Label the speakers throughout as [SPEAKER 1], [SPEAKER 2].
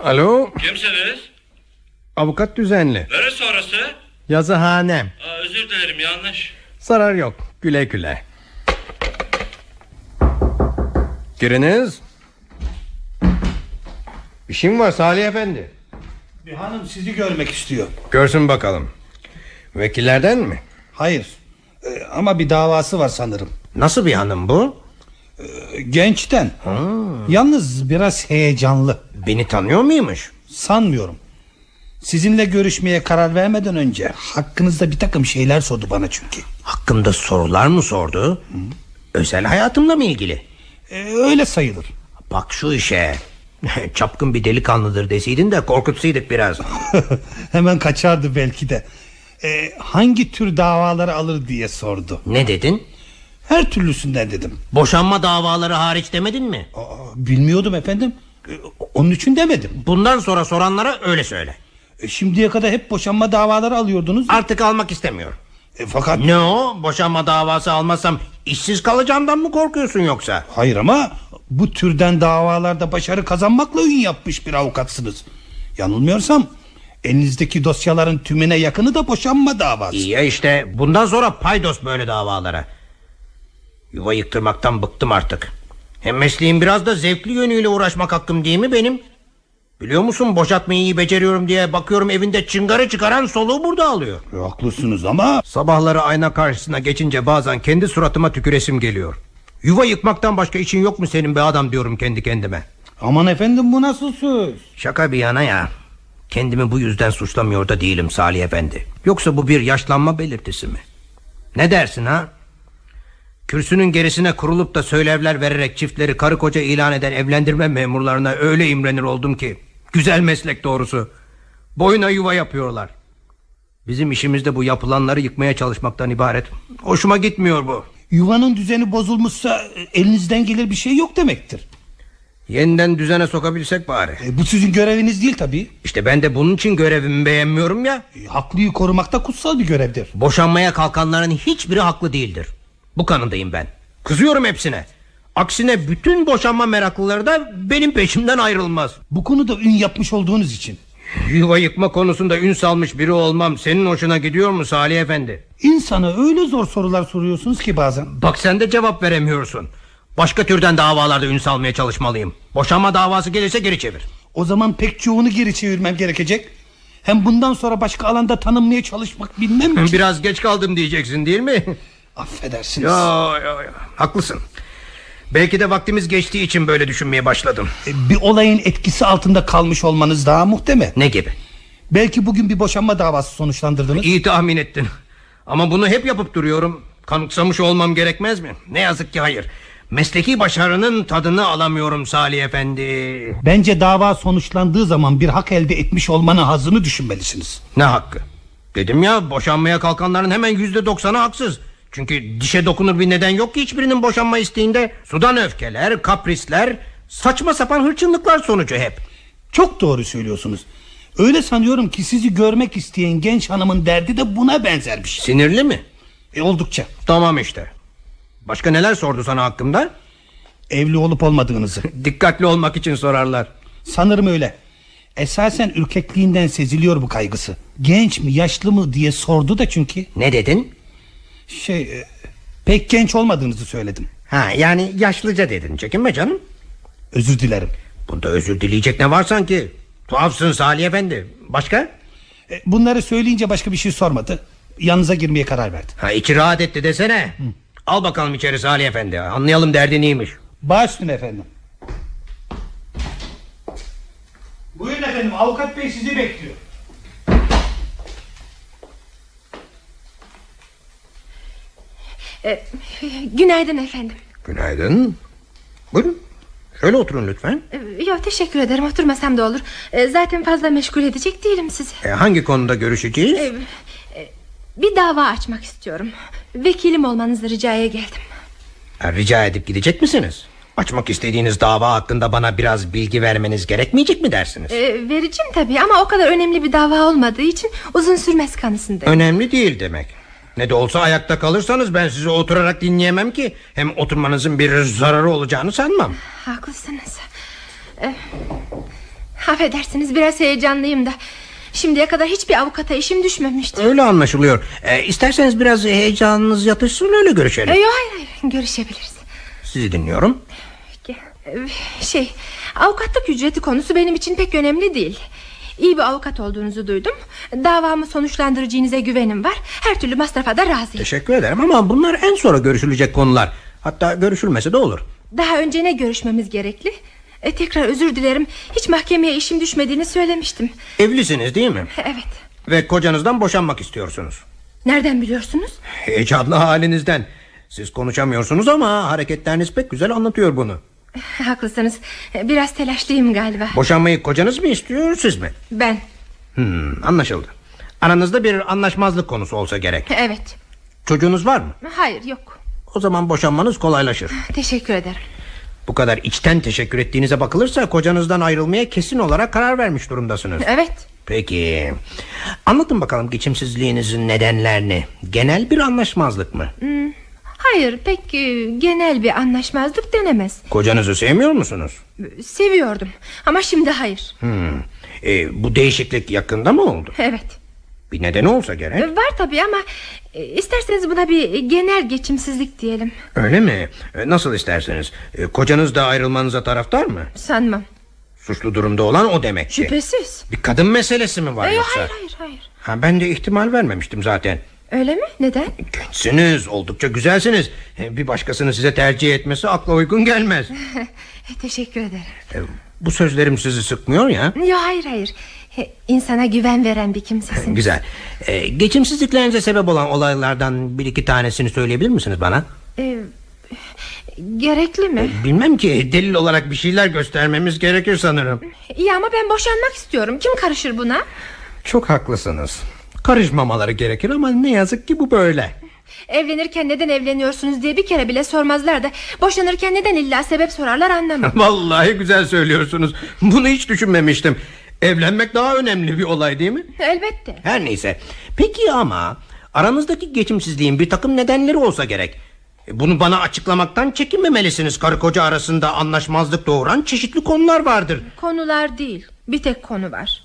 [SPEAKER 1] Alo
[SPEAKER 2] Kimsiniz?
[SPEAKER 1] avukat düzenli
[SPEAKER 2] Neresi orası?
[SPEAKER 1] Yazıhanem
[SPEAKER 2] Aa, özür dilerim yanlış.
[SPEAKER 1] Zarar yok güle güle Giriniz Bir şey mi var Salih Efendi
[SPEAKER 3] Bir hanım sizi görmek istiyor.
[SPEAKER 1] Görsün bakalım Vekillerden mi
[SPEAKER 3] Hayır. Ee, ama bir davası var sanırım.
[SPEAKER 1] Nasıl bir hanım bu
[SPEAKER 3] Ee, Gençten. Yalnız biraz heyecanlı.
[SPEAKER 1] Beni tanıyor muymuş
[SPEAKER 3] Sanmıyorum. Sizinle görüşmeye karar vermeden önce hakkınızda bir takım şeyler sordu bana çünkü.
[SPEAKER 1] Hakkımda sorular mı sordu Özel hayatımla mı ilgili
[SPEAKER 3] Ee, öyle sayılır.
[SPEAKER 1] Bak şu işe Çapkın bir delikanlıdır deseydin de korkutsaydık biraz
[SPEAKER 3] Hemen kaçardı belki de. Ee, hangi tür davaları alır diye sordu.
[SPEAKER 1] Ne dedin
[SPEAKER 3] Her türlüsünden dedim.
[SPEAKER 1] Boşanma davaları hariç demedin mi?
[SPEAKER 3] Aa, bilmiyordum efendim. Ee, onun için demedim.
[SPEAKER 1] Bundan sonra soranlara öyle söyle.
[SPEAKER 3] Ee, şimdiye kadar hep boşanma davaları alıyordunuz.
[SPEAKER 1] Artık almak istemiyorum.
[SPEAKER 3] Ee, fakat
[SPEAKER 1] Ne o? Boşanma davası almazsam işsiz kalacağımdan mı korkuyorsun yoksa?
[SPEAKER 3] Hayır ama bu türden davalarda başarı kazanmakla ün yapmış bir avukatsınız. Yanılmıyorsam elinizdeki dosyaların tümüne yakını da boşanma davası.
[SPEAKER 1] İyi ya işte bundan sonra paydos böyle davalara. Yuva yıktırmaktan bıktım artık. Hem mesleğim biraz da zevkli yönüyle uğraşmak hakkım değil mi benim? Biliyor musun boşatmayı iyi beceriyorum diye bakıyorum evinde çıngarı çıkaran soluğu burada alıyor.
[SPEAKER 3] E, Haklısınız ama
[SPEAKER 1] Sabahları ayna karşısına geçince bazen kendi suratıma tüküresim geliyor. Yuva yıkmaktan başka işin yok mu senin be adam diyorum kendi kendime.
[SPEAKER 3] aman efendim bu nasıl söz?
[SPEAKER 1] Şaka bir yana ya. Kendimi bu yüzden suçlamıyor da değilim Salih Efendi. Yoksa bu bir yaşlanma belirtisi mi? Ne dersin ha? Kürsünün gerisine kurulup da söylevler vererek çiftleri karı koca ilan eden evlendirme memurlarına öyle imrenir oldum ki. Güzel meslek doğrusu. Boyuna yuva yapıyorlar. Bizim işimizde bu yapılanları yıkmaya çalışmaktan ibaret. Hoşuma gitmiyor bu.
[SPEAKER 3] Yuvanın düzeni bozulmuşsa e, elinizden gelir bir şey yok demektir.
[SPEAKER 1] Yeniden düzene sokabilsek bari.
[SPEAKER 3] E, bu sizin göreviniz değil tabii.
[SPEAKER 1] İşte ben de bunun için görevimi beğenmiyorum ya.
[SPEAKER 3] E, haklıyı korumak da kutsal bir görevdir.
[SPEAKER 1] Boşanmaya kalkanların hiçbiri haklı değildir. Bu kanındayım ben. Kızıyorum hepsine. Aksine bütün boşanma meraklıları da benim peşimden ayrılmaz.
[SPEAKER 3] Bu konuda ün yapmış olduğunuz için.
[SPEAKER 1] Yuva yıkma konusunda ün salmış biri olmam senin hoşuna gidiyor mu Salih Efendi?
[SPEAKER 3] İnsana öyle zor sorular soruyorsunuz ki bazen.
[SPEAKER 1] Bak sen de cevap veremiyorsun. Başka türden davalarda ün salmaya çalışmalıyım. Boşanma davası gelirse geri çevir.
[SPEAKER 3] O zaman pek çoğunu geri çevirmem gerekecek. Hem bundan sonra başka alanda tanınmaya çalışmak bilmem ki.
[SPEAKER 1] Biraz geç kaldım diyeceksin değil mi?
[SPEAKER 3] Affedersiniz.
[SPEAKER 1] Ya, ya, ya. Haklısın. Belki de vaktimiz geçtiği için böyle düşünmeye başladım.
[SPEAKER 3] E, Bir olayın etkisi altında kalmış olmanız daha muhtemel.
[SPEAKER 1] Ne gibi?
[SPEAKER 3] Belki bugün bir boşanma davası sonuçlandırdınız.
[SPEAKER 1] İyi tahmin ettin. Ama bunu hep yapıp duruyorum. Kanıksamış olmam gerekmez mi? Ne yazık ki hayır. Mesleki başarının tadını alamıyorum Salih Efendi.
[SPEAKER 3] Bence dava sonuçlandığı zaman bir hak elde etmiş olmanın hazını düşünmelisiniz.
[SPEAKER 1] Ne hakkı? Dedim ya boşanmaya kalkanların hemen yüzde doksanı haksız. Çünkü dişe dokunur bir neden yok ki hiçbirinin boşanma isteğinde. Sudan öfkeler, kaprisler, saçma sapan hırçınlıklar sonucu hep.
[SPEAKER 3] Çok doğru söylüyorsunuz. Öyle sanıyorum ki sizi görmek isteyen genç hanımın derdi de buna benzer bir şey.
[SPEAKER 1] Sinirli mi?
[SPEAKER 3] E, oldukça.
[SPEAKER 1] Tamam işte. Başka neler sordu sana hakkımda?
[SPEAKER 3] Evli olup olmadığınızı.
[SPEAKER 1] Dikkatli olmak için sorarlar.
[SPEAKER 3] Sanırım öyle. Esasen ürkekliğinden seziliyor bu kaygısı. Genç mi yaşlı mı diye sordu da çünkü
[SPEAKER 1] Ne dedin?
[SPEAKER 3] şey e, pek genç olmadığınızı söyledim.
[SPEAKER 1] Ha yani yaşlıca dedin. Çekinme canım.
[SPEAKER 3] Özür dilerim.
[SPEAKER 1] Bunda özür dileyecek ne var sanki? Tuhafsın Salih Efendi. Başka?
[SPEAKER 3] E, Bunları söyleyince başka bir şey sormadı. Yanınıza girmeye karar verdi.
[SPEAKER 1] Ha içi rahat etti desene. Al bakalım içeri Salih Efendi. Anlayalım derdin neymiş.
[SPEAKER 3] Baş üstüne efendim. Buyurun efendim avukat bey sizi bekliyor.
[SPEAKER 4] Ee, Günaydın efendim.
[SPEAKER 1] Günaydın. Buyurun. Şöyle oturun lütfen.
[SPEAKER 4] Ee, Yok teşekkür ederim oturmasam da olur. Ee, Zaten fazla meşgul edecek değilim sizi.
[SPEAKER 1] E, hangi konuda görüşeceğiz?
[SPEAKER 4] Ee, e, Bir dava açmak istiyorum. Vekilim olmanızı ricaya geldim.
[SPEAKER 1] Ha, rica edip gidecek misiniz? Açmak istediğiniz dava hakkında bana biraz bilgi vermeniz gerekmeyecek mi dersiniz?
[SPEAKER 4] Ee, Vereceğim tabii ama o kadar önemli bir dava olmadığı için uzun sürmez kanısındayım.
[SPEAKER 1] Önemli değil demek. Ne de olsa ayakta kalırsanız ben sizi oturarak dinleyemem ki. Hem oturmanızın bir zararı olacağını sanmam.
[SPEAKER 4] Haklısınız. Ee, E, Affedersiniz biraz heyecanlıyım da. Şimdiye kadar hiçbir avukata işim düşmemişti.
[SPEAKER 1] Öyle anlaşılıyor. E, isterseniz biraz heyecanınız yatışsın öyle görüşelim.
[SPEAKER 4] Yok E, hayır hayır görüşebiliriz.
[SPEAKER 1] Sizi dinliyorum.
[SPEAKER 4] Peki. Ee, Şey avukatlık ücreti konusu benim için pek önemli değil. İyi bir avukat olduğunuzu duydum. Davamı sonuçlandıracağınıza güvenim var. Her türlü masrafa da razıyım.
[SPEAKER 1] Teşekkür ederim ama bunlar en sonra görüşülecek konular. Hatta görüşülmese de olur.
[SPEAKER 4] Daha önce ne görüşmemiz gerekli? E, tekrar özür dilerim. Hiç mahkemeye işim düşmediğini söylemiştim. E,
[SPEAKER 1] Evlisiniz değil mi?
[SPEAKER 4] Evet.
[SPEAKER 1] Ve kocanızdan boşanmak istiyorsunuz.
[SPEAKER 4] Nereden biliyorsunuz?
[SPEAKER 1] Heyecanlı halinizden. Siz konuşamıyorsunuz ama hareketleriniz pek güzel anlatıyor bunu.
[SPEAKER 4] E, Haklısınız. E, Biraz telaşlıyım galiba.
[SPEAKER 1] Boşanmayı kocanız mı istiyor siz mi?
[SPEAKER 4] Ben.
[SPEAKER 1] Hmm, anlaşıldı. Aranızda bir anlaşmazlık konusu olsa gerek.
[SPEAKER 4] E, Evet.
[SPEAKER 1] Çocuğunuz var mı?
[SPEAKER 4] Hayır yok.
[SPEAKER 1] O zaman boşanmanız kolaylaşır.
[SPEAKER 4] Teşekkür ederim.
[SPEAKER 1] Bu kadar içten teşekkür ettiğinize bakılırsa kocanızdan ayrılmaya kesin olarak karar vermiş durumdasınız.
[SPEAKER 4] Evet.
[SPEAKER 1] Peki. Anlatın bakalım geçimsizliğinizin nedenlerini. Genel bir anlaşmazlık mı?
[SPEAKER 4] Hayır pek e, genel bir anlaşmazlık denemez.
[SPEAKER 1] Kocanızı sevmiyor musunuz?
[SPEAKER 4] E, Seviyordum ama şimdi hayır.
[SPEAKER 1] Hmm. E, bu değişiklik yakında mı oldu?
[SPEAKER 4] Evet.
[SPEAKER 1] Bir nedeni olsa
[SPEAKER 4] E,
[SPEAKER 1] gerek.
[SPEAKER 4] Var tabii ama e, isterseniz buna bir genel geçimsizlik diyelim.
[SPEAKER 1] Öyle mi? E, nasıl isterseniz. E, kocanız da ayrılmanıza taraftar mı?
[SPEAKER 4] Sanmam.
[SPEAKER 1] Suçlu durumda olan o demek ki.
[SPEAKER 4] Şüphesiz.
[SPEAKER 1] Bir kadın meselesi mi var
[SPEAKER 4] E,
[SPEAKER 1] yoksa?
[SPEAKER 4] hayır hayır hayır.
[SPEAKER 1] Ha, ben de ihtimal vermemiştim zaten.
[SPEAKER 4] Öyle mi? Neden?
[SPEAKER 1] Gençsiniz, oldukça güzelsiniz. E, Bir başkasını size tercih etmesi akla uygun gelmez.
[SPEAKER 4] Teşekkür ederim.
[SPEAKER 1] E, Bu sözlerim sizi sıkmıyor ya.
[SPEAKER 4] Yok hayır hayır. E, İnsana güven veren bir kimsesin.
[SPEAKER 1] Güzel. Ee, geçimsizliklerinize sebep olan olaylardan bir iki tanesini söyleyebilir misiniz bana?
[SPEAKER 4] E, gerekli mi?
[SPEAKER 1] Bilmem ki delil olarak bir şeyler göstermemiz gerekir sanırım.
[SPEAKER 4] İyi ama ben boşanmak istiyorum. Kim karışır buna?
[SPEAKER 1] Çok haklısınız. Karışmamaları gerekir ama ne yazık ki bu böyle.
[SPEAKER 4] Evlenirken neden evleniyorsunuz diye bir kere bile sormazlar da boşanırken neden illa sebep sorarlar anlamam.
[SPEAKER 1] Vallahi güzel söylüyorsunuz. Bunu hiç düşünmemiştim. Evlenmek daha önemli bir olay değil mi?
[SPEAKER 4] Elbette.
[SPEAKER 1] Her neyse. Peki ama aranızdaki geçimsizliğin bir takım nedenleri olsa gerek. E, Bunu bana açıklamaktan çekinmemelisiniz. Karı koca arasında anlaşmazlık doğuran çeşitli konular vardır.
[SPEAKER 4] Konular değil. Bir tek konu var.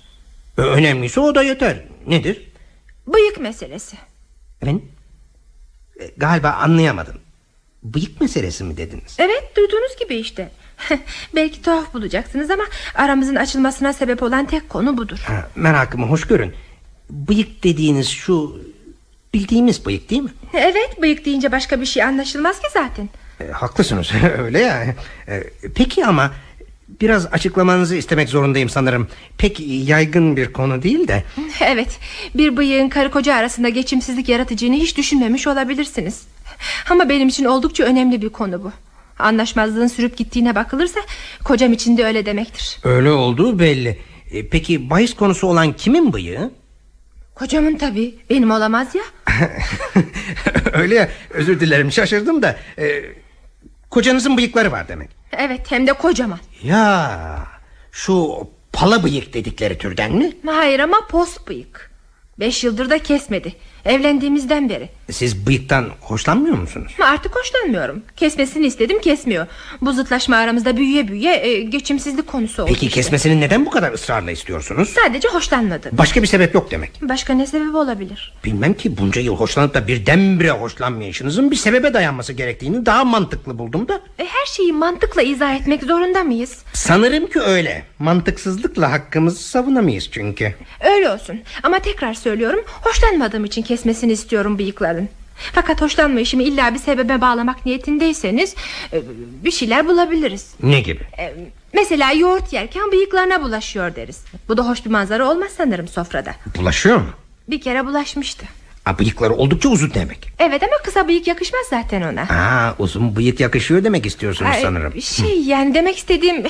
[SPEAKER 1] E, Önemlisi o da yeter. Nedir?
[SPEAKER 4] Bıyık meselesi.
[SPEAKER 1] Efendim? E, galiba anlayamadım. Bıyık meselesi mi dediniz?
[SPEAKER 4] Evet duyduğunuz gibi işte. Belki tuhaf bulacaksınız ama aramızın açılmasına sebep olan tek konu budur.
[SPEAKER 1] Ha, merakımı hoş görün. Bıyık dediğiniz şu bildiğimiz bıyık değil mi?
[SPEAKER 4] Evet bıyık deyince başka bir şey anlaşılmaz ki zaten.
[SPEAKER 1] E, haklısınız öyle ya. E, peki ama biraz açıklamanızı istemek zorundayım sanırım. Pek yaygın bir konu değil de.
[SPEAKER 4] Evet bir bıyığın karı koca arasında geçimsizlik yaratacağını hiç düşünmemiş olabilirsiniz. Ama benim için oldukça önemli bir konu bu. Anlaşmazlığın sürüp gittiğine bakılırsa kocam için de öyle demektir.
[SPEAKER 1] Öyle olduğu belli. E, peki bahis konusu olan kimin bıyığı?
[SPEAKER 4] Kocamın tabii benim olamaz ya.
[SPEAKER 1] öyle ya özür dilerim şaşırdım da. e, kocanızın bıyıkları var demek.
[SPEAKER 4] Evet hem de kocaman.
[SPEAKER 1] Ya şu pala bıyık dedikleri türden mi?
[SPEAKER 4] Hayır ama pos bıyık. Beş yıldır da kesmedi. Evlendiğimizden beri.
[SPEAKER 1] Siz bıyıktan hoşlanmıyor musunuz?
[SPEAKER 4] Ama Artık hoşlanmıyorum. Kesmesini istedim kesmiyor. Bu zıtlaşma aramızda büyüye büyüye e, geçimsizlik konusu oldu.
[SPEAKER 1] Peki
[SPEAKER 4] işte.
[SPEAKER 1] kesmesini neden bu kadar ısrarla istiyorsunuz?
[SPEAKER 4] Sadece hoşlanmadım.
[SPEAKER 1] Başka bir sebep yok demek.
[SPEAKER 4] Başka ne sebebi olabilir?
[SPEAKER 1] Bilmem ki bunca yıl hoşlanıp da birdenbire hoşlanmayışınızın bir sebebe dayanması gerektiğini daha mantıklı buldum da.
[SPEAKER 4] E, her şeyi mantıkla izah etmek zorunda mıyız?
[SPEAKER 1] Sanırım ki öyle. Mantıksızlıkla hakkımızı savunamayız çünkü.
[SPEAKER 4] Öyle olsun. Ama tekrar söylüyorum hoşlanmadığım için kesmesini istiyorum bıyıkların. Fakat hoşlanmayışımı illa bir sebebe bağlamak niyetindeyseniz e, bir şeyler bulabiliriz.
[SPEAKER 1] Ne gibi?
[SPEAKER 4] E, Mesela yoğurt yerken bıyıklarına bulaşıyor deriz. Bu da hoş bir manzara olmaz sanırım sofrada.
[SPEAKER 1] Bulaşıyor mu?
[SPEAKER 4] Bir kere bulaşmıştı.
[SPEAKER 1] Aa, bıyıkları oldukça uzun demek.
[SPEAKER 4] Evet ama kısa bıyık yakışmaz zaten ona.
[SPEAKER 1] Aa, uzun bıyık yakışıyor demek istiyorsunuz
[SPEAKER 4] Ay,
[SPEAKER 1] sanırım.
[SPEAKER 4] Şey yani demek istediğim...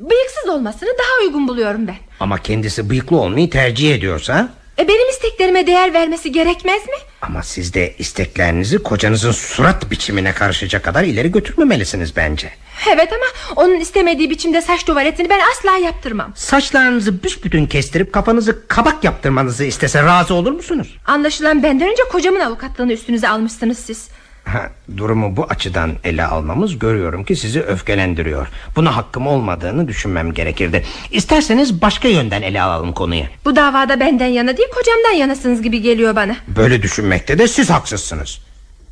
[SPEAKER 4] Bıyıksız olmasını daha uygun buluyorum ben.
[SPEAKER 1] Ama kendisi bıyıklı olmayı tercih ediyorsa...
[SPEAKER 4] E benim isteklerime değer vermesi gerekmez mi?
[SPEAKER 1] Ama siz de isteklerinizi kocanızın surat biçimine karışacak kadar ileri götürmemelisiniz bence.
[SPEAKER 4] Evet ama onun istemediği biçimde saç tuvaletini ben asla yaptırmam.
[SPEAKER 1] Saçlarınızı büsbütün kestirip kafanızı kabak yaptırmanızı istese razı olur musunuz?
[SPEAKER 4] Anlaşılan benden önce kocamın avukatlığını üstünüze almışsınız siz.
[SPEAKER 1] Ha, durumu bu açıdan ele almamız görüyorum ki sizi öfkelendiriyor. Buna hakkım olmadığını düşünmem gerekirdi. İsterseniz başka yönden ele alalım konuyu.
[SPEAKER 4] Bu davada benden yana değil kocamdan yanasınız gibi geliyor bana
[SPEAKER 1] Böyle düşünmekte de siz haksızsınız.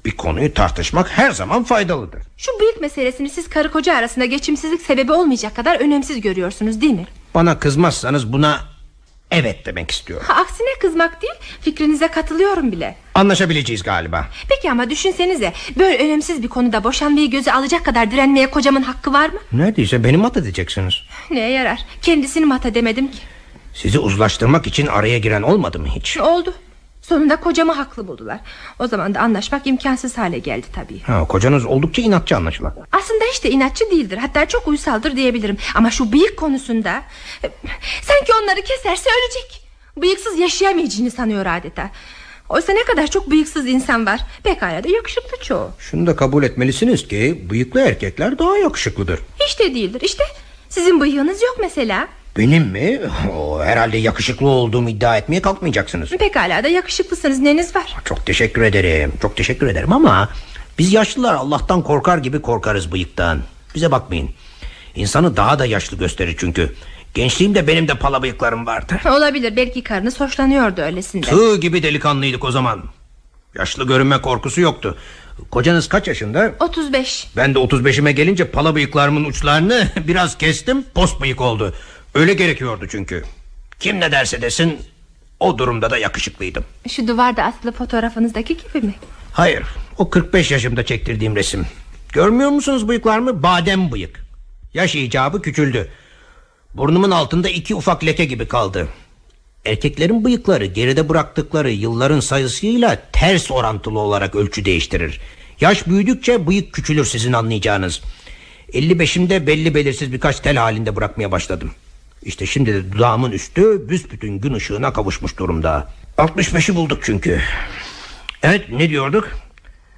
[SPEAKER 1] Bir konuyu tartışmak her zaman faydalıdır.
[SPEAKER 4] Şu bıyık meselesini siz karı koca arasında geçimsizlik sebebi olmayacak kadar önemsiz görüyorsunuz değil mi?
[SPEAKER 1] Bana kızmazsanız buna evet demek istiyorum.
[SPEAKER 4] Ha, aksine kızmak değil fikrinize katılıyorum bile
[SPEAKER 1] Anlaşabileceğiz galiba.
[SPEAKER 4] Peki ama düşünsenize böyle önemsiz bir konuda boşanmayı göze alacak kadar direnmeye kocamın hakkı var mı?
[SPEAKER 1] Neredeyse beni mat edeceksiniz.
[SPEAKER 4] Neye yarar kendisini mata demedim ki
[SPEAKER 1] Sizi uzlaştırmak için araya giren olmadı mı hiç?
[SPEAKER 4] Oldu sonunda kocamı haklı buldular O zaman da anlaşmak imkansız hale geldi tabii
[SPEAKER 1] Ha, kocanız oldukça inatçı anlaşılan.
[SPEAKER 4] Aslında hiç de inatçı değildir Hatta çok uysaldır diyebilirim Ama şu bıyık konusunda e, Sanki onları keserse ölecek Bıyıksız yaşayamayacağını sanıyor adeta Oysa ne kadar çok bıyıksız insan var Pekala da yakışıklı çoğu
[SPEAKER 1] Şunu da kabul etmelisiniz ki bıyıklı erkekler daha yakışıklıdır.
[SPEAKER 4] Hiç de değildir işte Sizin bıyığınız yok mesela
[SPEAKER 1] Benim mi? O, herhalde yakışıklı olduğumu iddia etmeye kalkmayacaksınız.
[SPEAKER 4] Pekala da yakışıklısınız neniz var
[SPEAKER 1] Çok teşekkür ederim. Çok teşekkür ederim ama biz yaşlılar Allah'tan korkar gibi korkarız bıyıktan. Bize bakmayın. İnsanı daha da yaşlı gösterir çünkü. Gençliğimde benim de pala bıyıklarım vardı.
[SPEAKER 4] Olabilir belki karınız hoşlanıyordu öylesinde
[SPEAKER 1] Tığ gibi delikanlıydık o zaman. Yaşlı görünme korkusu yoktu. Kocanız kaç yaşında?
[SPEAKER 4] 35
[SPEAKER 1] Ben de 35'ime gelince pala bıyıklarımın uçlarını biraz kestim pos bıyık oldu. Öyle gerekiyordu çünkü. Kim ne derse desin o durumda da yakışıklıydım.
[SPEAKER 4] Şu duvarda asılı fotoğrafınızdaki gibi mi?
[SPEAKER 1] Hayır o 45 yaşımda çektirdiğim resim. Görmüyor musunuz bıyıklarımı? Badem bıyık. Yaş icabı küçüldü. Burnumun altında iki ufak leke gibi kaldı. Erkeklerin bıyıkları geride bıraktıkları yılların sayısıyla ters orantılı olarak ölçü değiştirir. Yaş büyüdükçe bıyık küçülür sizin anlayacağınız. 55'imde belli belirsiz birkaç tel halinde bırakmaya başladım. İşte şimdi de dudağımın üstü büsbütün gün ışığına kavuşmuş durumda. 65'i bulduk çünkü. Evet ne diyorduk?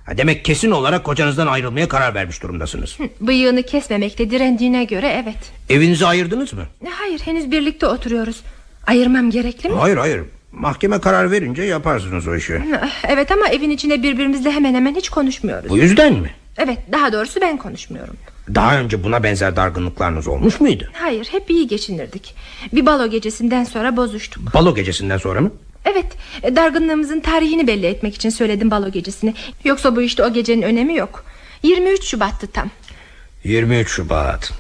[SPEAKER 1] Ha, demek kesin olarak kocanızdan ayrılmaya karar vermiş durumdasınız.
[SPEAKER 4] Bıyığını kesmemekte direndiğine göre evet
[SPEAKER 1] Evinizi ayırdınız mı?
[SPEAKER 4] Ne, Hayır henüz birlikte oturuyoruz Ayırmam gerekli mi?
[SPEAKER 1] Hayır hayır. Mahkeme karar verince yaparsınız o işi.
[SPEAKER 4] Evet ama evin içinde birbirimizle hemen hemen hiç konuşmuyoruz
[SPEAKER 1] Bu yüzden mi?
[SPEAKER 4] Evet daha doğrusu ben konuşmuyorum
[SPEAKER 1] Daha önce buna benzer dargınlıklarınız olmuş muydu?
[SPEAKER 4] Hayır hep iyi geçinirdik Bir balo gecesinden sonra bozuştuk
[SPEAKER 1] Balo gecesinden sonra mı?
[SPEAKER 4] Evet e, dargınlığımızın tarihini belli etmek için söyledim balo gecesini Yoksa bu işte o gecenin önemi yok 23 Şubat'tı tam
[SPEAKER 1] 23 Şubat.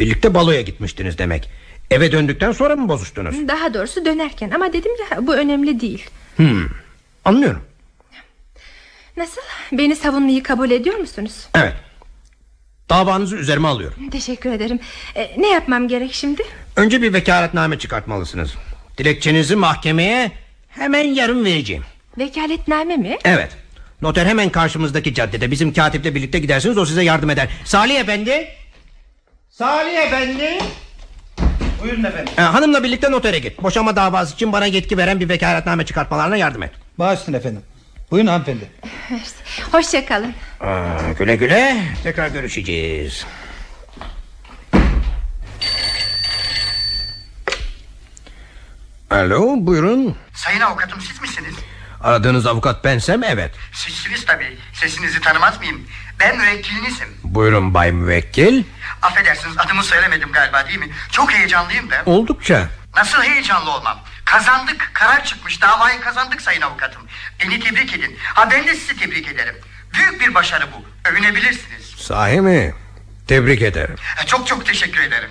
[SPEAKER 1] Birlikte baloya gitmiştiniz demek. Eve döndükten sonra mı bozuştunuz?
[SPEAKER 4] Daha doğrusu dönerken ama dedim ya bu önemli değil
[SPEAKER 1] Anlıyorum.
[SPEAKER 4] Nasıl beni savunmayı kabul ediyor musunuz?
[SPEAKER 1] Evet. Davanızı üzerime alıyorum.
[SPEAKER 4] Teşekkür ederim E, Ne yapmam gerek şimdi?
[SPEAKER 1] Önce bir vekaletname çıkartmalısınız. Dilekçenizi mahkemeye hemen yarın vereceğim.
[SPEAKER 4] Vekaletname mi?
[SPEAKER 1] Evet. Noter hemen karşımızdaki caddede. Bizim katiple birlikte gidersiniz. O size yardım eder. Salih Efendi. Salih Efendi.
[SPEAKER 3] Buyurun efendim.
[SPEAKER 1] Ee, hanımla birlikte notere git. Boşama davası için bana yetki veren bir vekaletname çıkartmalarına yardım et.
[SPEAKER 3] Bağışlayın efendim. Buyurun hanımefendi.
[SPEAKER 4] Hoşça kalın
[SPEAKER 1] Aa, güle güle. Tekrar görüşeceğiz. Alo buyurun.
[SPEAKER 5] Sayın avukatım siz misiniz?
[SPEAKER 1] Aradığınız avukat bensem evet.
[SPEAKER 5] Sizsiniz tabii. Sesinizi tanımaz mıyım? Ben müvekkilinizim.
[SPEAKER 1] Buyurun Bay Müvekkil.
[SPEAKER 5] Affedersiniz adımı söylemedim galiba değil mi? Çok heyecanlıyım ben.
[SPEAKER 1] Oldukça.
[SPEAKER 5] Nasıl heyecanlı olmam? Kazandık. Karar çıkmış. Davayı kazandık sayın avukatım. Beni tebrik edin. Ha ben de sizi tebrik ederim. Büyük bir başarı bu. Övünebilirsiniz.
[SPEAKER 1] Sahi mi? Tebrik ederim.
[SPEAKER 5] Ha, Çok çok teşekkür ederim.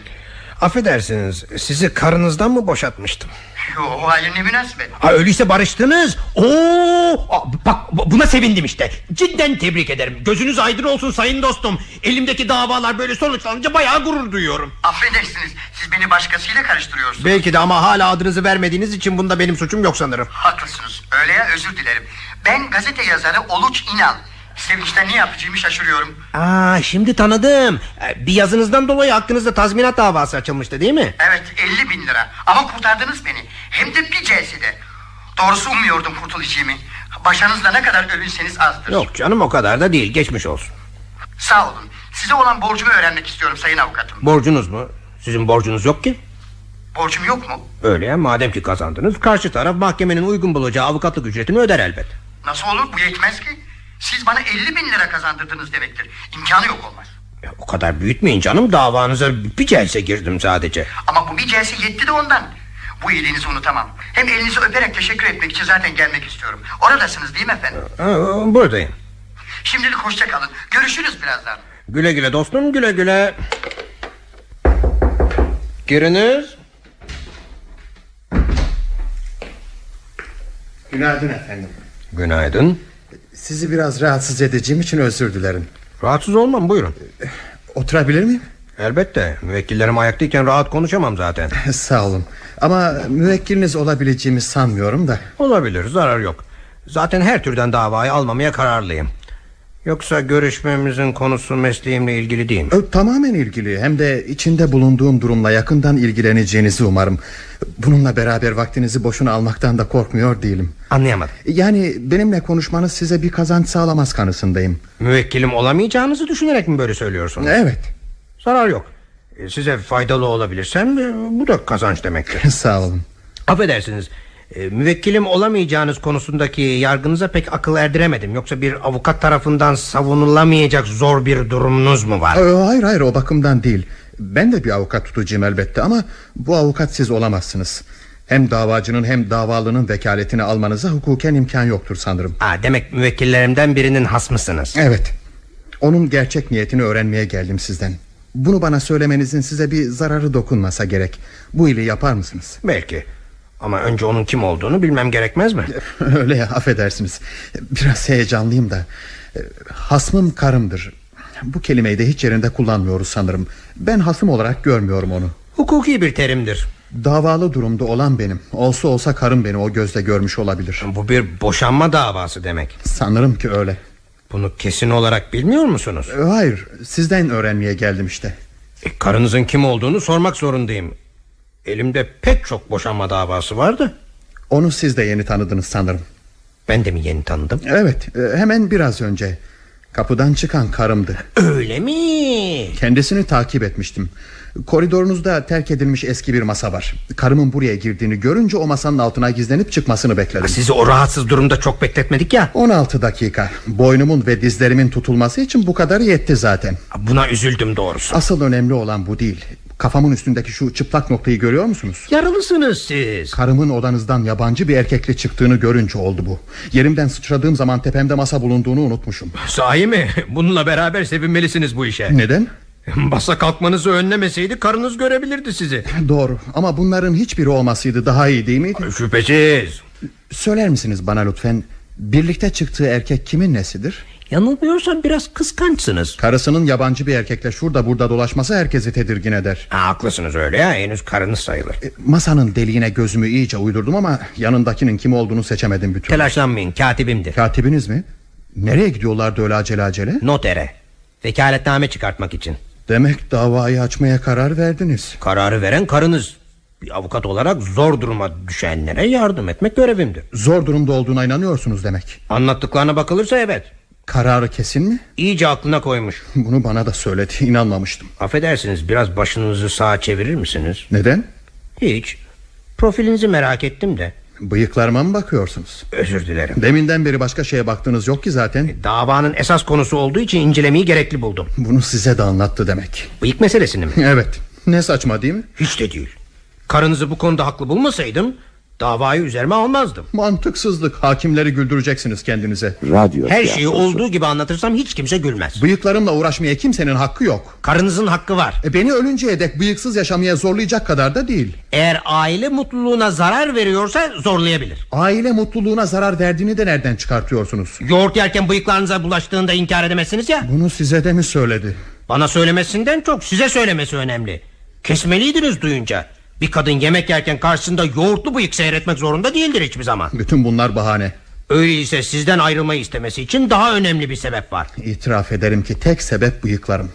[SPEAKER 1] Affedersiniz sizi karınızdan mı boşatmıştım?
[SPEAKER 5] Yo, O halin ne münasebet.
[SPEAKER 1] Ha öyleyse barıştınız. Oo! Aa, Bak bu- buna sevindim işte. Cidden tebrik ederim. Gözünüz aydın olsun sayın dostum. Elimdeki davalar böyle sonuçlanınca bayağı gurur duyuyorum.
[SPEAKER 5] Affedersiniz. Siz beni başkasıyla karıştırıyorsunuz.
[SPEAKER 1] Belki de ama hala adınızı vermediğiniz için bunda benim suçum yok sanırım.
[SPEAKER 5] Haklısınız. Öyle ya özür dilerim. Ben gazete yazarı Oluç İnan. Sevinçten ne yapacağımı şaşırıyorum.
[SPEAKER 1] Aa şimdi tanıdım. Ee, Bir yazınızdan dolayı hakkınızda tazminat davası açılmıştı değil mi?
[SPEAKER 5] Evet 50 bin lira ama kurtardınız beni Hem de bir celsede Doğrusu ummuyordum kurtulacağımı Başınızla ne kadar övünseniz azdır
[SPEAKER 1] Yok canım o kadar da değil geçmiş olsun.
[SPEAKER 5] Sağ olun size olan borcumu öğrenmek istiyorum sayın avukatım
[SPEAKER 1] Borcunuz mu? Sizin borcunuz yok ki.
[SPEAKER 5] Borcum yok mu?
[SPEAKER 1] Öyle ya madem ki kazandınız karşı taraf mahkemenin uygun bulacağı avukatlık ücretini öder elbet.
[SPEAKER 5] Nasıl olur bu yetmez ki Siz bana 50 bin lira kazandırdınız demektir. İmkanı yok olmaz.
[SPEAKER 1] Ya, o kadar büyütmeyin canım davanıza bir celse girdim sadece.
[SPEAKER 5] Ama bu bir celse yetti de ondan. Bu iyiliğinizi unutamam. Hem elinizi öperek teşekkür etmek için zaten gelmek istiyorum. Oradasınız değil mi efendim?
[SPEAKER 1] Ha, buradayım.
[SPEAKER 5] Şimdilik hoşça kalın. Görüşürüz birazdan.
[SPEAKER 1] Güle güle dostum güle güle. Giriniz.
[SPEAKER 6] Günaydın efendim.
[SPEAKER 1] Günaydın.
[SPEAKER 6] Sizi biraz rahatsız edeceğim için özür dilerim.
[SPEAKER 1] Rahatsız olmam buyurun.
[SPEAKER 6] Oturabilir miyim?
[SPEAKER 1] Elbette müvekkillerim ayaktayken rahat konuşamam zaten.
[SPEAKER 6] Sağ olun. Ama müvekkiliniz olabileceğimi sanmıyorum da.
[SPEAKER 1] Olabilir zarar yok. Zaten her türden davayı almamaya kararlıyım. Yoksa görüşmemizin konusu mesleğimle ilgili değil mi?
[SPEAKER 6] Ö, Tamamen ilgili hem de içinde bulunduğum durumla yakından ilgileneceğinizi umarım. Bununla beraber vaktinizi boşuna almaktan da korkmuyor değilim.
[SPEAKER 1] Anlayamadım.
[SPEAKER 6] Yani benimle konuşmanız size bir kazanç sağlamaz kanısındayım.
[SPEAKER 1] Müvekkilim olamayacağınızı düşünerek mi böyle söylüyorsunuz?
[SPEAKER 6] Evet.
[SPEAKER 1] Zarar yok. E, Size faydalı olabilirsem e, bu da kazanç demektir.
[SPEAKER 6] Sağ olun.
[SPEAKER 1] Affedersiniz. e, Müvekkilim olamayacağınız konusundaki yargınıza pek akıl erdiremedim. Yoksa bir avukat tarafından savunulamayacak zor bir durumunuz mu var?
[SPEAKER 6] Ö, Hayır hayır o bakımdan değil. Ben de bir avukat tutacağım elbette ama bu avukat siz olamazsınız. Hem davacının hem davalının vekaletini almanıza hukuken imkan yoktur sanırım.
[SPEAKER 1] Ha, demek müvekkillerimden birinin hasmısınız.
[SPEAKER 6] Evet. Onun gerçek niyetini öğrenmeye geldim sizden. Bunu bana söylemenizin size bir zararı dokunmasa gerek. Bu ili yapar mısınız?
[SPEAKER 1] Belki. Ama önce onun kim olduğunu bilmem gerekmez mi?
[SPEAKER 6] Öyle ya affedersiniz. Biraz heyecanlıyım da. E, Hasmım karımdır. Bu kelimeyi de hiç yerinde kullanmıyoruz sanırım. Ben hasım olarak görmüyorum onu.
[SPEAKER 1] Hukuki bir terimdir.
[SPEAKER 6] Davalı durumda olan benim. Olsa olsa karım beni o gözle görmüş olabilir.
[SPEAKER 1] Bu bir boşanma davası demek.
[SPEAKER 6] Sanırım ki öyle.
[SPEAKER 1] Bunu kesin olarak bilmiyor musunuz?
[SPEAKER 6] E, Hayır, sizden öğrenmeye geldim işte.
[SPEAKER 1] E, karınızın kim olduğunu sormak zorundayım. Elimde pek çok boşanma davası vardı.
[SPEAKER 6] Onu siz de yeni tanıdınız sanırım.
[SPEAKER 1] Ben de mi yeni tanıdım?
[SPEAKER 6] Evet, e, hemen biraz önce. Kapıdan çıkan karımdı.
[SPEAKER 1] Öyle mi?
[SPEAKER 6] Kendisini takip etmiştim. Koridorunuzda terk edilmiş eski bir masa var. Karımın buraya girdiğini görünce o masanın altına gizlenip çıkmasını bekledim.
[SPEAKER 1] Sizi o rahatsız durumda çok bekletmedik ya.
[SPEAKER 6] 16 dakika. Boynumun ve dizlerimin tutulması için bu kadar yetti zaten.
[SPEAKER 1] Buna üzüldüm doğrusu.
[SPEAKER 6] Asıl önemli olan bu değil. Kafamın üstündeki şu çıplak noktayı görüyor musunuz?
[SPEAKER 1] Yaralısınız siz.
[SPEAKER 6] Karımın odanızdan yabancı bir erkekle çıktığını görünce oldu bu. Yerimden sıçradığım zaman tepemde masa bulunduğunu unutmuşum.
[SPEAKER 1] Sahi mi? Bununla beraber sevinmelisiniz bu işe.
[SPEAKER 6] Neden?
[SPEAKER 1] Basa kalkmanızı önlemeseydi karınız görebilirdi sizi.
[SPEAKER 6] Doğru ama bunların hiçbiri olmasıydı daha iyi değil miydi?
[SPEAKER 1] Şüphesiz.
[SPEAKER 6] Söyler misiniz bana lütfen birlikte çıktığı erkek kimin nesidir?
[SPEAKER 1] Yanılmıyorsam biraz kıskançsınız.
[SPEAKER 6] Karısının yabancı bir erkekle şurada burada dolaşması herkesi tedirgin eder.
[SPEAKER 1] Ha, haklısınız öyle ya henüz karınız sayılır.
[SPEAKER 6] E, Masanın deliğine gözümü iyice uydurdum ama yanındakinin kim olduğunu seçemedim bütün.
[SPEAKER 1] Telaşlanmayın katibimdir.
[SPEAKER 6] Katibiniz mi? Nereye gidiyorlardı öyle acele acele?
[SPEAKER 1] Notere. Vekaletname çıkartmak için.
[SPEAKER 6] Demek davayı açmaya karar verdiniz.
[SPEAKER 1] Kararı veren karınız. Bir avukat olarak zor duruma düşenlere yardım etmek görevimdir.
[SPEAKER 6] Zor durumda olduğuna inanıyorsunuz demek.
[SPEAKER 1] Anlattıklarına bakılırsa evet.
[SPEAKER 6] Kararı kesin mi?
[SPEAKER 1] İyice aklına koymuş.
[SPEAKER 6] Bunu bana da söyledi inanmamıştım
[SPEAKER 1] Affedersiniz biraz başınızı sağa çevirir misiniz?
[SPEAKER 6] Neden?
[SPEAKER 1] Hiç. Profilinizi merak ettim de.
[SPEAKER 6] Bıyıklarıma mı bakıyorsunuz?
[SPEAKER 1] Özür dilerim.
[SPEAKER 6] Deminden beri başka şeye baktığınız yok ki zaten
[SPEAKER 1] Davanın esas konusu olduğu için incelemeyi gerekli buldum.
[SPEAKER 6] Bunu size de anlattı demek
[SPEAKER 1] Bıyık meselesini mi?
[SPEAKER 6] Evet ne saçma değil mi?
[SPEAKER 1] Hiç de değil. Karınızı bu konuda haklı bulmasaydım davayı üzerime almazdım.
[SPEAKER 6] Mantıksızlık hakimleri güldüreceksiniz kendinize
[SPEAKER 7] Radyo
[SPEAKER 1] Her şeyi
[SPEAKER 7] tiyatrosu.
[SPEAKER 1] olduğu gibi anlatırsam hiç kimse gülmez.
[SPEAKER 6] Bıyıklarımla uğraşmaya kimsenin hakkı yok
[SPEAKER 1] Karınızın hakkı var.
[SPEAKER 6] E, Beni ölünceye dek bıyıksız yaşamaya zorlayacak kadar da değil
[SPEAKER 1] Eğer aile mutluluğuna zarar veriyorsa zorlayabilir.
[SPEAKER 6] Aile mutluluğuna zarar verdiğini de nereden çıkartıyorsunuz?
[SPEAKER 1] Yoğurt yerken bıyıklarınıza bulaştığında inkar edemezsiniz ya.
[SPEAKER 6] Bunu size de mi söyledi?
[SPEAKER 1] Bana söylemesinden çok size söylemesi önemli. Kesmeliydiniz duyunca. Bir kadın yemek yerken karşısında yoğurtlu bıyık seyretmek zorunda değildir hiçbir zaman.
[SPEAKER 6] Bütün bunlar bahane
[SPEAKER 1] Öyleyse sizden ayrılmayı istemesi için daha önemli bir sebep var.
[SPEAKER 6] İtiraf ederim ki tek sebep bıyıklarım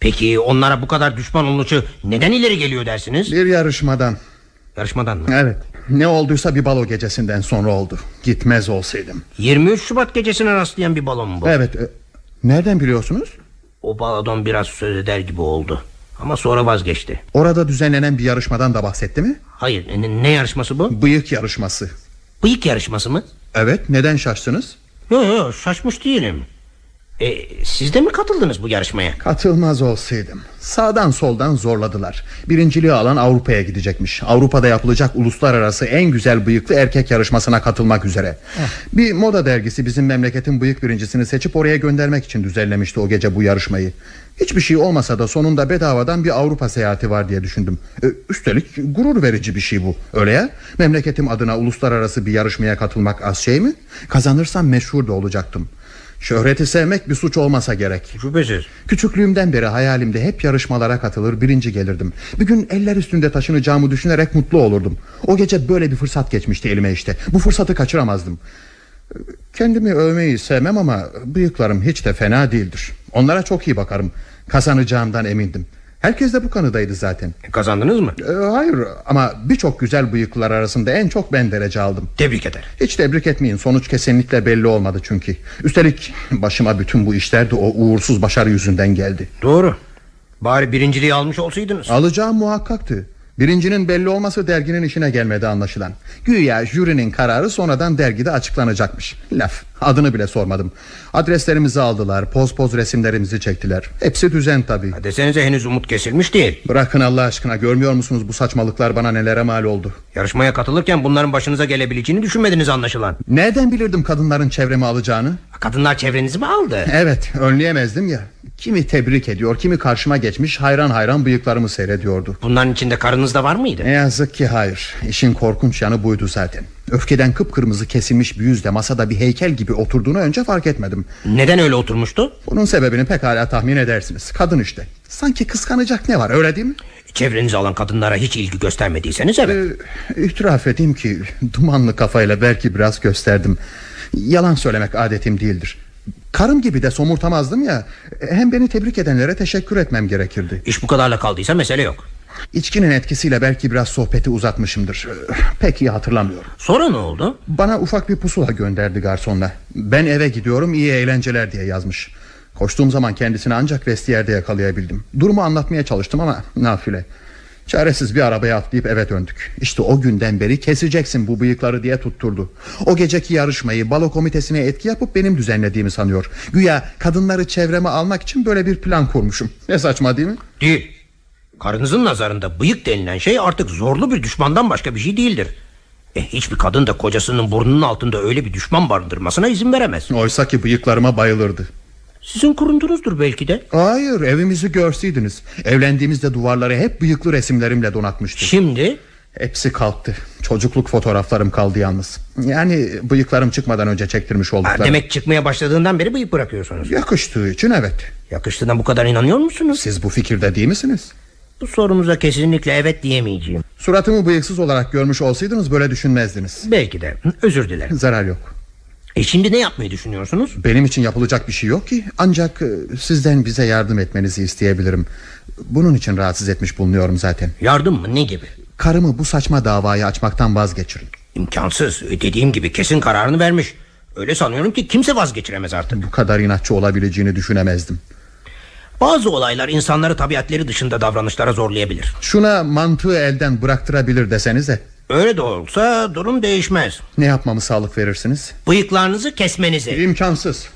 [SPEAKER 1] Peki onlara bu kadar düşman olunuşu neden ileri geliyor dersiniz?
[SPEAKER 6] Bir yarışmadan
[SPEAKER 1] Yarışmadan mı?
[SPEAKER 6] Evet. Ne olduysa bir balo gecesinden sonra oldu. Gitmez olsaydım.
[SPEAKER 1] 23 Şubat gecesine rastlayan bir balon bu.
[SPEAKER 6] Evet. e, Nereden biliyorsunuz?
[SPEAKER 1] O balon biraz söz eder gibi oldu. Ama sonra vazgeçti.
[SPEAKER 6] Orada düzenlenen bir yarışmadan da bahsetti mi?
[SPEAKER 1] Hayır ne, ne yarışması bu?
[SPEAKER 6] Bıyık yarışması.
[SPEAKER 1] Bıyık yarışması mı?
[SPEAKER 6] Evet. Neden şaştınız?
[SPEAKER 1] Yok yok şaşmış değilim. E, siz de mi katıldınız bu yarışmaya?
[SPEAKER 6] Katılmaz olsaydım. Sağdan soldan zorladılar. Birinciliği alan Avrupa'ya gidecekmiş. Avrupa'da yapılacak uluslararası en güzel bıyıklı erkek yarışmasına katılmak üzere. Bir moda dergisi bizim memleketin bıyık birincisini seçip oraya göndermek için düzenlemişti o gece bu yarışmayı. Hiçbir şey olmasa da sonunda bedavadan bir Avrupa seyahati var diye düşündüm. E, Üstelik gurur verici bir şey bu. Öyle ya? Memleketim adına uluslararası bir yarışmaya katılmak az şey mi? Kazanırsam meşhur da olacaktım. Şöhreti sevmek bir suç olmasa gerek.
[SPEAKER 1] Şüphesiz.
[SPEAKER 6] Küçüklüğümden beri hayalimde hep yarışmalara katılır birinci gelirdim Bir gün eller üstünde taşınacağımı düşünerek mutlu olurdum O gece böyle bir fırsat geçmişti elime işte Bu fırsatı kaçıramazdım Kendimi övmeyi sevmem ama bıyıklarım hiç de fena değildir Onlara çok iyi bakarım Kazanacağımdan emindim Herkes de bu kanıdaydı zaten
[SPEAKER 1] E, Kazandınız mı?
[SPEAKER 6] Ee, Hayır ama birçok güzel bıyıklılar arasında en çok ben derece aldım
[SPEAKER 1] Tebrik ederim.
[SPEAKER 6] hiç tebrik etmeyin sonuç kesinlikle belli olmadı çünkü Üstelik başıma bütün bu işler de o uğursuz başarı yüzünden geldi
[SPEAKER 1] Doğru. Bari birinciliği almış olsaydınız.
[SPEAKER 6] Alacağım muhakkaktı. Birincinin belli olması derginin işine gelmedi anlaşılan. Güya jürinin kararı sonradan dergide açıklanacakmış. Laf. Adını bile sormadım. Adreslerimizi aldılar, poz poz resimlerimizi çektiler. Hepsi düzen tabii.
[SPEAKER 1] Desenize henüz umut kesilmiş değil.
[SPEAKER 6] Bırakın Allah aşkına görmüyor musunuz bu saçmalıklar bana nelere mal oldu?
[SPEAKER 1] Yarışmaya katılırken bunların başınıza gelebileceğini düşünmediniz anlaşılan.
[SPEAKER 6] Nereden bilirdim kadınların çevremi alacağını?
[SPEAKER 1] Kadınlar çevrenizi mi aldı?
[SPEAKER 6] Evet, önleyemezdim ya. Kimi tebrik ediyor, kimi karşıma geçmiş hayran hayran bıyıklarımı seyrediyordu.
[SPEAKER 1] Bunların içinde karınız da var mıydı?
[SPEAKER 6] Ne yazık ki hayır İşin korkunç yanı buydu zaten Öfkeden kıpkırmızı kesilmiş bir yüzle masada bir heykel gibi oturduğunu önce fark etmedim
[SPEAKER 1] Neden öyle oturmuştu?
[SPEAKER 6] Bunun sebebini pekala tahmin edersiniz Kadın işte Sanki kıskanacak ne var öyle değil mi?
[SPEAKER 1] Çevrenizi alan kadınlara hiç ilgi göstermediyseniz evet.
[SPEAKER 6] Ee, İtiraf edeyim ki dumanlı kafayla belki biraz gösterdim Yalan söylemek adetim değildir Karım gibi de somurtamazdım ya Hem beni tebrik edenlere teşekkür etmem gerekirdi
[SPEAKER 1] İş bu kadarla kaldıysa mesele yok.
[SPEAKER 6] İçkinin etkisiyle belki biraz sohbeti uzatmışımdır Ee, Pek iyi hatırlamıyorum
[SPEAKER 1] Sonra ne oldu?
[SPEAKER 6] Bana ufak bir pusula gönderdi garsonla. Ben eve gidiyorum iyi eğlenceler diye yazmış. Koştuğum zaman kendisini ancak vestiyerde yakalayabildim. Durumu anlatmaya çalıştım ama nafile. Çaresiz bir arabaya atlayıp eve döndük. İşte o günden beri keseceksin bu bıyıkları diye tutturdu. O geceki yarışmayı balo komitesine etki yapıp benim düzenlediğimi sanıyor. Güya kadınları çevreme almak için böyle bir plan kurmuşum. Ne saçma değil mi?
[SPEAKER 1] Değil. Karınızın nazarında bıyık denilen şey artık zorlu bir düşmandan başka bir şey değildir. E, hiçbir kadın da kocasının burnunun altında öyle bir düşman barındırmasına izin veremez.
[SPEAKER 6] Oysa ki bıyıklarıma bayılırdı.
[SPEAKER 1] Sizin kurundunuzdur belki de.
[SPEAKER 6] Hayır evimizi görseydiniz. Evlendiğimizde duvarları hep bıyıklı resimlerimle donatmıştı.
[SPEAKER 1] Şimdi
[SPEAKER 6] Hepsi kalktı. Çocukluk fotoğraflarım kaldı yalnız. Yani bıyıklarım çıkmadan önce çektirmiş
[SPEAKER 1] ha,
[SPEAKER 6] olduklarım.
[SPEAKER 1] demek çıkmaya başladığından beri bıyık bırakıyorsunuz.
[SPEAKER 6] Yakıştığı için evet.
[SPEAKER 1] Yakıştığına bu kadar inanıyor musunuz?
[SPEAKER 6] Siz bu fikirde değil misiniz?
[SPEAKER 1] Bu sorumuza kesinlikle evet diyemeyeceğim.
[SPEAKER 6] Suratımı bıyıksız olarak görmüş olsaydınız böyle düşünmezdiniz.
[SPEAKER 1] Belki de. Özür dilerim.
[SPEAKER 6] Zarar yok.
[SPEAKER 1] E şimdi ne yapmayı düşünüyorsunuz?
[SPEAKER 6] Benim için yapılacak bir şey yok ki. Ancak e, sizden bize yardım etmenizi isteyebilirim. Bunun için rahatsız etmiş bulunuyorum zaten.
[SPEAKER 1] Yardım mı ne gibi?
[SPEAKER 6] Karımı bu saçma davayı açmaktan vazgeçirin.
[SPEAKER 1] İmkansız. E, Dediğim gibi kesin kararını vermiş. Öyle sanıyorum ki kimse vazgeçiremez artık.
[SPEAKER 6] Bu kadar inatçı olabileceğini düşünemezdim.
[SPEAKER 1] Bazı olaylar insanları tabiatleri dışında davranışlara zorlayabilir.
[SPEAKER 6] Şuna mantığı elden bıraktırabilir desenize.
[SPEAKER 1] Öyle de olsa durum değişmez.
[SPEAKER 6] Ne yapmamı sağlık verirsiniz?
[SPEAKER 1] Bıyıklarınızı kesmenizi.
[SPEAKER 6] İmkansız.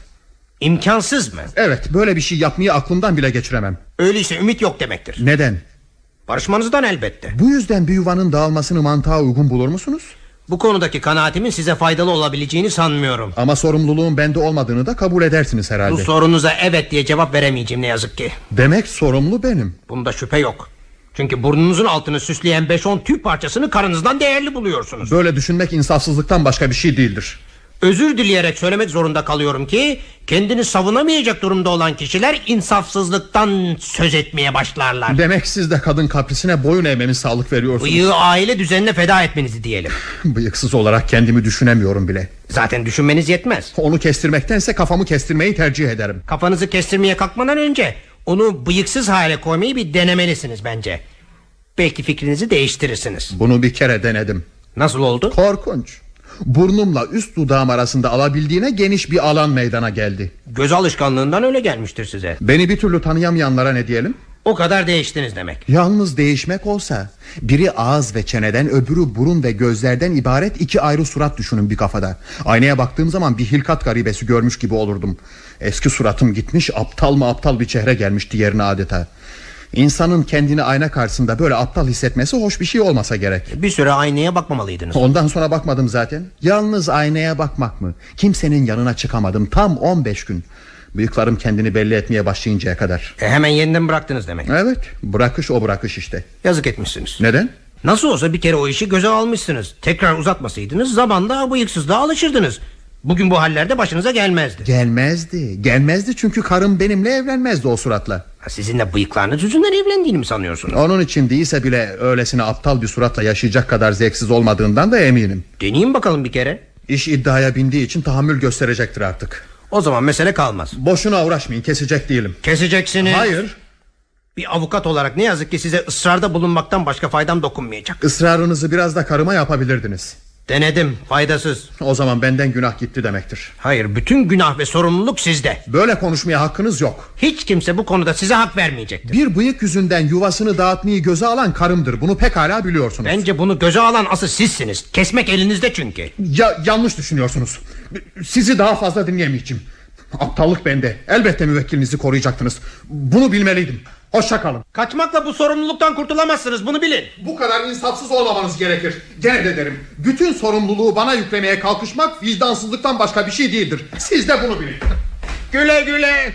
[SPEAKER 1] İmkansız mı?
[SPEAKER 6] Evet böyle bir şey yapmayı aklımdan bile geçiremem
[SPEAKER 1] Öyleyse ümit yok demektir.
[SPEAKER 6] Neden?
[SPEAKER 1] Barışmanızdan elbette.
[SPEAKER 6] Bu yüzden bir yuvanın dağılmasını mantığa uygun bulur musunuz?
[SPEAKER 1] Bu konudaki kanaatimin size faydalı olabileceğini sanmıyorum.
[SPEAKER 6] Ama sorumluluğun bende olmadığını da kabul edersiniz herhalde
[SPEAKER 1] Bu sorunuza evet diye cevap veremeyeceğim ne yazık ki.
[SPEAKER 6] Demek sorumlu benim
[SPEAKER 1] Bunda şüphe yok. Çünkü burnunuzun altını süsleyen 5-10 tüy parçasını karınızdan değerli buluyorsunuz.
[SPEAKER 6] Böyle düşünmek insafsızlıktan başka bir şey değildir
[SPEAKER 1] Özür dileyerek söylemek zorunda kalıyorum ki kendini savunamayacak durumda olan kişiler insafsızlıktan söz etmeye başlarlar.
[SPEAKER 6] Demek siz de kadın kaprisine boyun eğmemi sağlık veriyorsunuz
[SPEAKER 1] Bıyığı aile düzenine feda etmenizi diyelim.
[SPEAKER 6] Bıyıksız olarak kendimi düşünemiyorum bile
[SPEAKER 1] Zaten düşünmeniz yetmez.
[SPEAKER 6] Onu kestirmektense kafamı kestirmeyi tercih ederim
[SPEAKER 1] Kafanızı kestirmeye kalkmadan önce onu bıyıksız hale koymayı bir denemelisiniz bence. Belki fikrinizi değiştirirsiniz.
[SPEAKER 6] Bunu bir kere denedim
[SPEAKER 1] Nasıl oldu?
[SPEAKER 6] Korkunç Burnumla üst dudağım arasında alabildiğine geniş bir alan meydana geldi
[SPEAKER 1] Göz alışkanlığından öyle gelmiştir size.
[SPEAKER 6] Beni bir türlü tanıyamayanlara ne diyelim?
[SPEAKER 1] O kadar değiştiniz demek.
[SPEAKER 6] Yalnız değişmek olsa biri ağız ve çeneden öbürü burun ve gözlerden ibaret iki ayrı surat düşünün bir kafada. Aynaya baktığım zaman bir hilkat garibesi görmüş gibi olurdum. Eski suratım gitmiş aptal mı aptal bir çehre gelmişti yerine adeta. İnsanın kendini ayna karşısında böyle aptal hissetmesi hoş bir şey olmasa gerek.
[SPEAKER 1] Bir süre aynaya bakmamalıydınız.
[SPEAKER 6] Ondan sonra bakmadım zaten. Yalnız aynaya bakmak mı? Kimsenin yanına çıkamadım tam 15 gün. Bıyıklarım kendini belli etmeye başlayıncaya kadar.
[SPEAKER 1] E, hemen yeniden bıraktınız demek.
[SPEAKER 6] Evet, bırakış o bırakış işte.
[SPEAKER 1] Yazık etmişsiniz.
[SPEAKER 6] Neden?
[SPEAKER 1] Nasıl olsa bir kere o işi göze almışsınız. Tekrar uzatmasaydınız zamanda bıyıksızlığa alışırdınız. Bugün bu hallerde başınıza gelmezdi.
[SPEAKER 6] Gelmezdi gelmezdi çünkü karım benimle evlenmezdi o suratla
[SPEAKER 1] Ha, Sizinle bıyıklarınız yüzünden evlendiğini mi sanıyorsunuz?
[SPEAKER 6] Onun için değilse bile öylesine aptal bir suratla yaşayacak kadar zevksiz olmadığından da eminim
[SPEAKER 1] Deneyin bakalım bir kere.
[SPEAKER 6] İş iddiaya bindiği için tahammül gösterecektir artık
[SPEAKER 1] O zaman mesele kalmaz.
[SPEAKER 6] Boşuna uğraşmayın kesecek değilim
[SPEAKER 1] Keseceksiniz.
[SPEAKER 6] Hayır
[SPEAKER 1] Bir avukat olarak ne yazık ki size ısrarda bulunmaktan başka faydam dokunmayacak.
[SPEAKER 6] ısrarınızı biraz da karıma yapabilirdiniz
[SPEAKER 1] Denedim faydasız.
[SPEAKER 6] O zaman benden günah gitti demektir
[SPEAKER 1] Hayır bütün günah ve sorumluluk sizde.
[SPEAKER 6] Böyle konuşmaya hakkınız yok
[SPEAKER 1] Hiç kimse bu konuda size hak vermeyecektir.
[SPEAKER 6] Bir bıyık yüzünden yuvasını dağıtmayı göze alan karımdır Bunu pekala biliyorsunuz
[SPEAKER 1] Bence bunu göze alan asıl sizsiniz. Kesmek elinizde çünkü.
[SPEAKER 6] Ya, yanlış düşünüyorsunuz. Sizi daha fazla dinleyemeyeceğim. Aptallık bende. Elbette müvekkilinizi koruyacaktınız. Bunu bilmeliydim. Hoşça kalın.
[SPEAKER 1] Kaçmakla bu sorumluluktan kurtulamazsınız bunu bilin.
[SPEAKER 6] Bu kadar insafsız olmamanız gerekir. Gene de derim. Bütün sorumluluğu bana yüklemeye kalkışmak vicdansızlıktan başka bir şey değildir. Siz de bunu bilin.
[SPEAKER 1] Güle güle.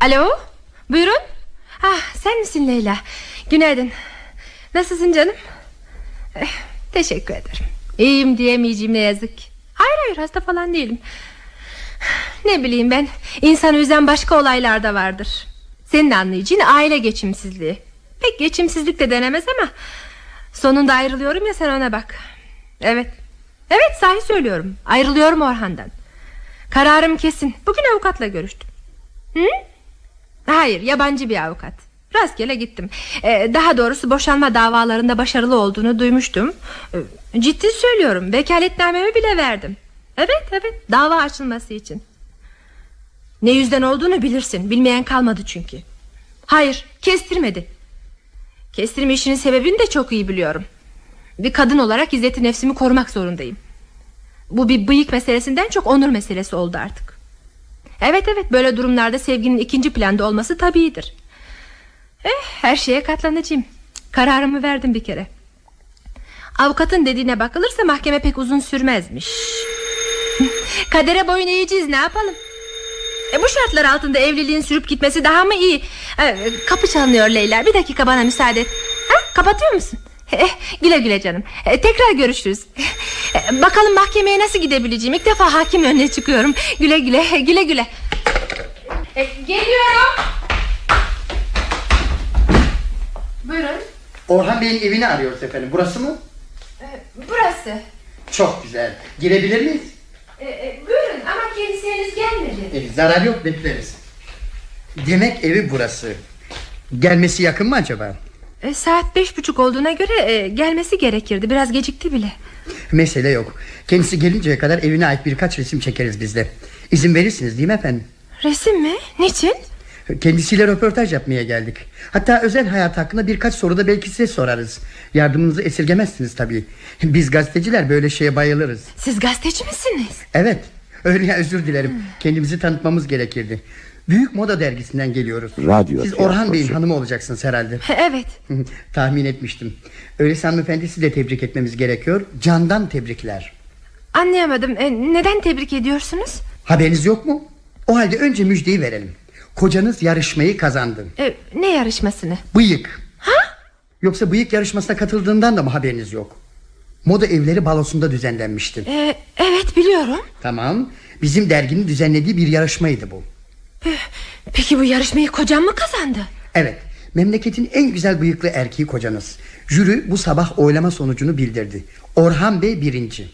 [SPEAKER 4] Alo buyurun ah, Sen misin Leyla Günaydın Nasılsın canım Eh, Teşekkür ederim İyiyim diyemeyeceğim ne yazık ki. Hayır hayır hasta falan değilim Ne bileyim ben İnsanı üzen başka olaylar da vardır Senin anlayacağın aile geçimsizliği Pek geçimsizlik de denemez ama Sonunda ayrılıyorum ya sen ona bak Evet Evet sahi söylüyorum ayrılıyorum Orhan'dan Kararım kesin Bugün avukatla görüştüm Hayır yabancı bir avukat Rastgele gittim Ee, Daha doğrusu boşanma davalarında başarılı olduğunu duymuştum Ee, Ciddi söylüyorum Vekaletnamemi bile verdim Evet evet dava açılması için Ne yüzden olduğunu bilirsin Bilmeyen kalmadı çünkü Hayır kestirmedi Kestirme işinin sebebini de çok iyi biliyorum Bir kadın olarak izzeti nefsimi korumak zorundayım Bu bir bıyık meselesinden çok onur meselesi oldu artık Evet evet böyle durumlarda sevginin ikinci planda olması tabiidir. Eh, her şeye katlanacağım. Kararımı verdim bir kere. Avukatın dediğine bakılırsa mahkeme pek uzun sürmezmiş. Kadere boyun eğeceğiz ne yapalım? E, bu şartlar altında evliliğin sürüp gitmesi daha mı iyi? E, kapı çalınıyor Leyla. Bir dakika bana müsaade et. Ha, kapatıyor musun? Eh, güle güle canım. E, tekrar görüşürüz. E, bakalım mahkemeye nasıl gidebileceğim. İlk defa hakim önüne çıkıyorum. Güle güle, güle güle. E, geliyorum. Buyurun.
[SPEAKER 5] Orhan Bey'in evini arıyoruz efendim. Burası mı?
[SPEAKER 4] E, burası.
[SPEAKER 5] Çok güzel. Girebilir miyiz?
[SPEAKER 4] E, e, buyurun ama kendisi henüz gelmedi.
[SPEAKER 5] E, zarar yok bekleriz. Demek evi burası. Gelmesi yakın mı acaba?
[SPEAKER 4] E, saat beş buçuk olduğuna göre e, gelmesi gerekirdi. Biraz gecikti bile.
[SPEAKER 5] Mesele yok. Kendisi gelinceye kadar evine ait birkaç resim çekeriz biz de. İzin verirsiniz değil mi efendim?
[SPEAKER 4] Resim mi? Niçin?
[SPEAKER 5] Kendisiyle röportaj yapmaya geldik. Hatta özel hayat hakkında birkaç soru da belki size sorarız. Yardımınızı esirgemezsiniz tabii. Biz gazeteciler böyle şeye bayılırız.
[SPEAKER 4] Siz gazeteci misiniz?
[SPEAKER 5] Evet. Öyle ya, özür dilerim. Kendimizi tanıtmamız gerekirdi. Büyük Moda dergisinden geliyoruz.
[SPEAKER 7] Radyo
[SPEAKER 5] Siz
[SPEAKER 7] tiyatrosu.
[SPEAKER 5] Orhan Bey'in hanımı olacaksınız herhalde.
[SPEAKER 4] Evet.
[SPEAKER 5] Tahmin etmiştim. Öyleyse hanımefendi sizi de tebrik etmemiz gerekiyor. Candan tebrikler.
[SPEAKER 4] Anlayamadım. E, neden tebrik ediyorsunuz?
[SPEAKER 5] Haberiniz yok mu? O halde önce müjdeyi verelim. Kocanız yarışmayı kazandı.
[SPEAKER 4] E, ne yarışmasını?
[SPEAKER 5] Bıyık. Ha? Yoksa bıyık yarışmasına katıldığından da mı haberiniz yok? Moda evleri balosunda düzenlenmişti.
[SPEAKER 4] E, evet biliyorum.
[SPEAKER 5] Tamam. Bizim derginin düzenlediği bir yarışmaydı bu.
[SPEAKER 4] Peki bu yarışmayı kocam mı kazandı?
[SPEAKER 5] Evet. Memleketin en güzel bıyıklı erkeği kocanız. Jüri bu sabah oylama sonucunu bildirdi. Orhan Bey birinci.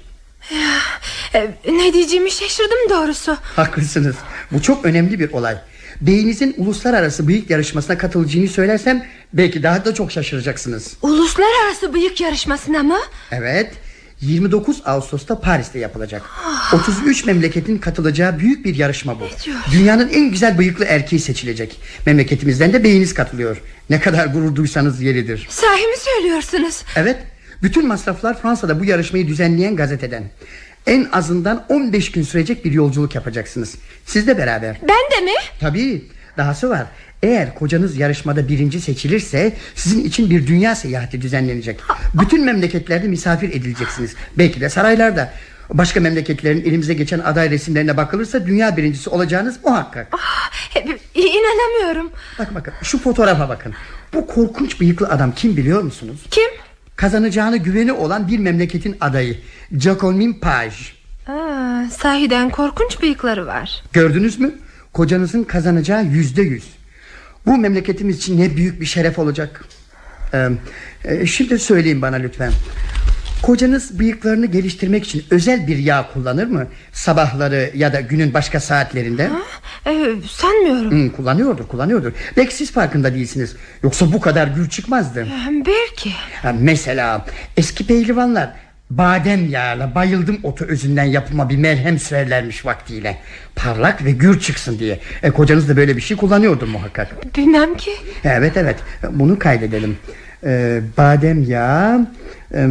[SPEAKER 4] E, ne diyeceğimi şaşırdım doğrusu.
[SPEAKER 5] Haklısınız. Bu çok önemli bir olay. Beyinizin uluslararası bıyık yarışmasına katılacağını söylersem belki daha da çok şaşıracaksınız.
[SPEAKER 4] Uluslararası bıyık yarışmasına mı?
[SPEAKER 5] Evet. 29 Ağustos'ta Paris'te yapılacak. 33 memleketin katılacağı büyük bir yarışma bu.
[SPEAKER 4] diyorsun?
[SPEAKER 5] Dünyanın en güzel bıyıklı erkeği seçilecek. Memleketimizden de beyiniz katılıyor. Ne kadar gurur duysanız yeridir.
[SPEAKER 4] Sahi mi söylüyorsunuz?
[SPEAKER 5] Evet bütün masraflar Fransa'da bu yarışmayı düzenleyen gazeteden En azından 15 gün sürecek bir yolculuk yapacaksınız Siz de beraber
[SPEAKER 4] Ben de mi?
[SPEAKER 5] Tabii dahası var eğer kocanız yarışmada birinci seçilirse sizin için bir dünya seyahati düzenlenecek. Bütün memleketlerde misafir edileceksiniz. Belki de saraylarda. Başka memleketlerin elimize geçen aday resimlerine bakılırsa dünya birincisi olacağınız muhakkak.
[SPEAKER 4] Ah, hep- İnanamıyorum.
[SPEAKER 5] Bak bakın şu fotoğrafa bakın. Bu korkunç bıyıklı adam kim biliyor musunuz?
[SPEAKER 4] Kim?
[SPEAKER 5] kazanacağını güveni olan bir memleketin adayı Jacqueline Page.
[SPEAKER 4] Aa, sahiden korkunç bıyıkları var.
[SPEAKER 5] Gördünüz mü? Kocanızın kazanacağı yüzde yüz. Bu memleketimiz için ne büyük bir şeref olacak. Ee, e, şimdi söyleyin bana lütfen. Kocanız bıyıklarını geliştirmek için özel bir yağ kullanır mı? Sabahları ya da günün başka saatlerinde?
[SPEAKER 4] Ee, sanmıyorum.
[SPEAKER 5] Hı, kullanıyordur, kullanıyordur. Belki siz farkında değilsiniz. Yoksa bu kadar gül çıkmazdı.
[SPEAKER 4] Ee, Belki.
[SPEAKER 5] Ha, mesela eski pehlivanlar badem yağıyla bayıldım otu özünden yapılma bir merhem sürerlermiş vaktiyle. Parlak ve gür çıksın diye. E, kocanız da böyle bir şey kullanıyordur muhakkak.
[SPEAKER 4] Bilmem ki.
[SPEAKER 5] Evet evet bunu kaydedelim. E, badem yağı, e,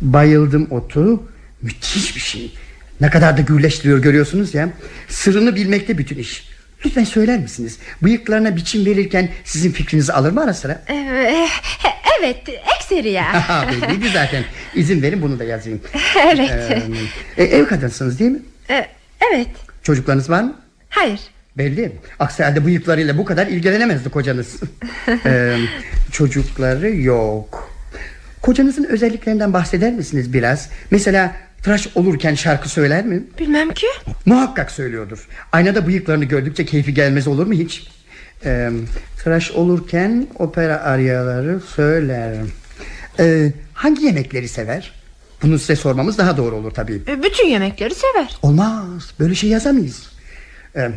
[SPEAKER 5] bayıldım otu müthiş bir şey. Ne kadar da gürleştiriyor görüyorsunuz ya. Sırrını bilmekte bütün iş. Lütfen söyler misiniz? Bıyıklarına biçim verirken sizin fikrinizi alır mı ara sıra?
[SPEAKER 4] Ee, evet, ekseri ya.
[SPEAKER 5] Ha, Belliydi zaten. İzin verin bunu da yazayım.
[SPEAKER 4] evet.
[SPEAKER 5] Ee, e, ev kadınsınız değil mi?
[SPEAKER 4] Ee, evet.
[SPEAKER 5] Çocuklarınız var mı?
[SPEAKER 4] Hayır.
[SPEAKER 5] Belli. Aksi halde bıyıklarıyla bu kadar ilgilenemezdi kocanız. Ee, çocukları yok. Kocanızın özelliklerinden bahseder misiniz biraz? Mesela tıraş olurken şarkı söyler mi?
[SPEAKER 4] Bilmem ki.
[SPEAKER 5] Muhakkak söylüyordur. Aynada bıyıklarını gördükçe keyfi gelmez olur mu hiç? Ee, tıraş olurken opera ariyaları söyler. Ee, hangi yemekleri sever? Bunu size sormamız daha doğru olur tabii.
[SPEAKER 4] Ee, Bütün yemekleri sever.
[SPEAKER 5] Olmaz. Böyle şey yazamayız. Ee,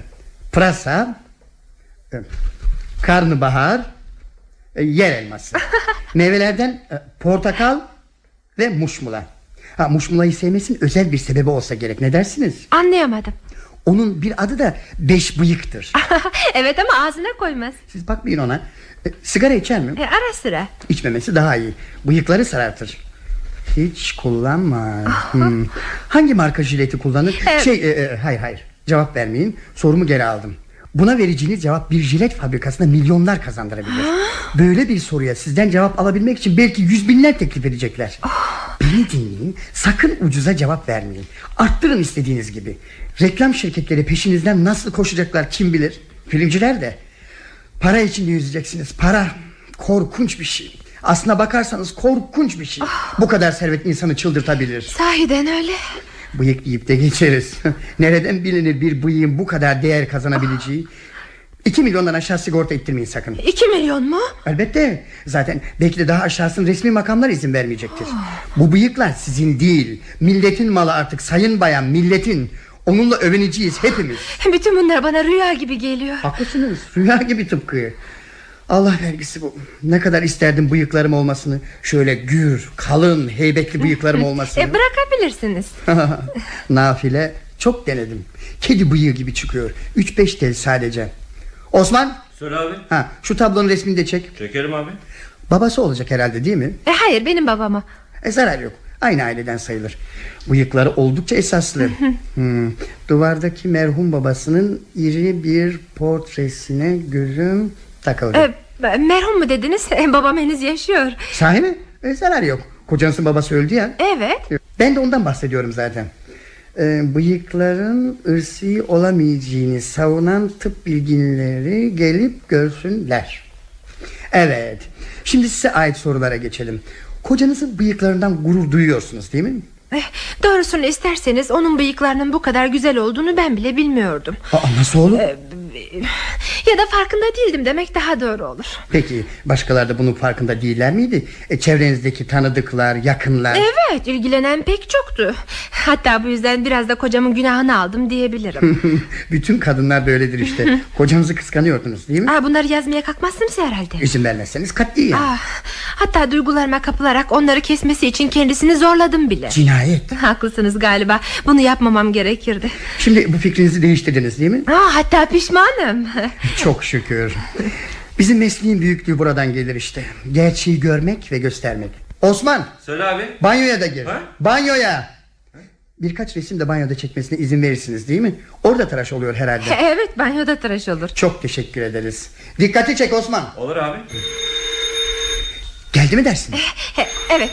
[SPEAKER 5] pırasa, e, karnabahar, e, yer elması. Meyvelerden e, portakal ve muşmula. Ha, muşmulayı sevmesinin özel bir sebebi olsa gerek. Ne dersiniz?
[SPEAKER 4] Anlayamadım.
[SPEAKER 5] Onun bir adı da beş bıyıktır.
[SPEAKER 4] Ah. evet ama ağzına koymaz.
[SPEAKER 5] Siz bakmayın ona. E, sigara içer mi?
[SPEAKER 4] Ee, ara sıra.
[SPEAKER 5] İçmemesi daha iyi. Bıyıkları sarartır. Hiç kullanma. Hmm. Hangi marka jileti kullanır?
[SPEAKER 4] Evet.
[SPEAKER 5] Şey, e, e, hayır hayır. Cevap vermeyin. Sorumu geri aldım. Buna vereceğiniz cevap bir jilet fabrikasına milyonlar kazandırabilir. Böyle bir soruya sizden cevap alabilmek için belki yüz binler teklif edecekler. Beni dinleyin. Sakın ucuza cevap vermeyin. Arttırın istediğiniz gibi. Reklam şirketleri peşinizden nasıl koşacaklar kim bilir. Filmciler de. Para içinde yüzeceksiniz para Korkunç bir şey Aslına bakarsanız korkunç bir şey Bu kadar servet insanı çıldırtabilir
[SPEAKER 4] Sahiden öyle.
[SPEAKER 5] Bıyık yiyip de geçeriz Nereden bilinir bir bıyığın bu kadar değer kazanabileceği 2 milyondan aşağı sigorta ettirmeyin sakın
[SPEAKER 4] İki milyon mu?
[SPEAKER 5] Elbette zaten belki de daha aşağısının resmi makamlar izin vermeyecektir Bu bıyıklar sizin değil Milletin malı artık sayın bayan milletin Onunla övüneceğiz hepimiz
[SPEAKER 4] Bütün bunlar bana rüya gibi geliyor.
[SPEAKER 5] Haklısınız rüya gibi tıpkı Allah vergisi bu Ne kadar isterdim bıyıklarım olmasını Şöyle gür kalın heybetli bıyıklarım olmasını
[SPEAKER 4] E, bırakabilirsiniz.
[SPEAKER 5] Nafile çok denedim Kedi bıyığı gibi çıkıyor 3-5 tel sadece Osman
[SPEAKER 2] Söyle abi.
[SPEAKER 5] ha, şu tablonun resmini de çek
[SPEAKER 2] Çekerim abi.
[SPEAKER 5] Babası olacak herhalde değil mi?
[SPEAKER 4] E, hayır benim babama.
[SPEAKER 5] E zarar yok. Aynı aileden sayılır. Bıyıkları oldukça esaslı. Hmm. Duvardaki merhum babasının iri bir portresine gözüm takıldı.
[SPEAKER 4] E, merhum mu dediniz? E, babam henüz yaşıyor.
[SPEAKER 5] Sahi mi? E, zarar yok. Kocanızın babası öldü ya.
[SPEAKER 4] Evet.
[SPEAKER 5] Ben de ondan bahsediyorum zaten. E, bıyıkların ırsi olamayacağını savunan tıp bilginleri gelip görsünler. Evet. Şimdi size ait sorulara geçelim. Kocanızın bıyıklarından gurur duyuyorsunuz değil mi?
[SPEAKER 4] Eh, Doğrusunu isterseniz onun bıyıklarının bu kadar güzel olduğunu ben bile bilmiyordum.
[SPEAKER 5] Aa, nasıl olur?
[SPEAKER 4] Eh, Ya da farkında değildim demek daha doğru olur.
[SPEAKER 5] Peki başkaları da bunun farkında değiller miydi? E, çevrenizdeki tanıdıklar, yakınlar.
[SPEAKER 4] Evet ilgilenen pek çoktu. Hatta bu yüzden biraz da kocamın günahını aldım diyebilirim.
[SPEAKER 5] Bütün kadınlar böyledir işte. Kocanızı kıskanıyordunuz değil mi?
[SPEAKER 4] Aa, bunları yazmaya kalkmazsınız herhalde.
[SPEAKER 5] İzin vermezseniz katliyen.
[SPEAKER 4] Ah, hatta duygularıma kapılarak onları kesmesi için kendisini zorladım bile.
[SPEAKER 5] Cinayet.
[SPEAKER 4] Haklısınız galiba. Bunu yapmamam gerekirdi.
[SPEAKER 5] Şimdi bu fikrinizi değiştirdiniz değil mi?
[SPEAKER 4] Aa, hatta pişmanım.
[SPEAKER 5] Çok şükür. Bizim mesleğin büyüklüğü buradan gelir işte. Gerçeği görmek ve göstermek. Osman
[SPEAKER 2] Söyle abi.
[SPEAKER 5] banyoya da gir.
[SPEAKER 2] Ha?
[SPEAKER 5] Banyoya. Birkaç resim de banyoda çekmesine izin verirsiniz değil mi? Orada tıraş oluyor herhalde.
[SPEAKER 4] evet banyoda tıraş olur.
[SPEAKER 5] Çok teşekkür ederiz. Dikkati çek Osman.
[SPEAKER 2] Olur abi.
[SPEAKER 5] Geldi mi dersin?
[SPEAKER 4] He, evet.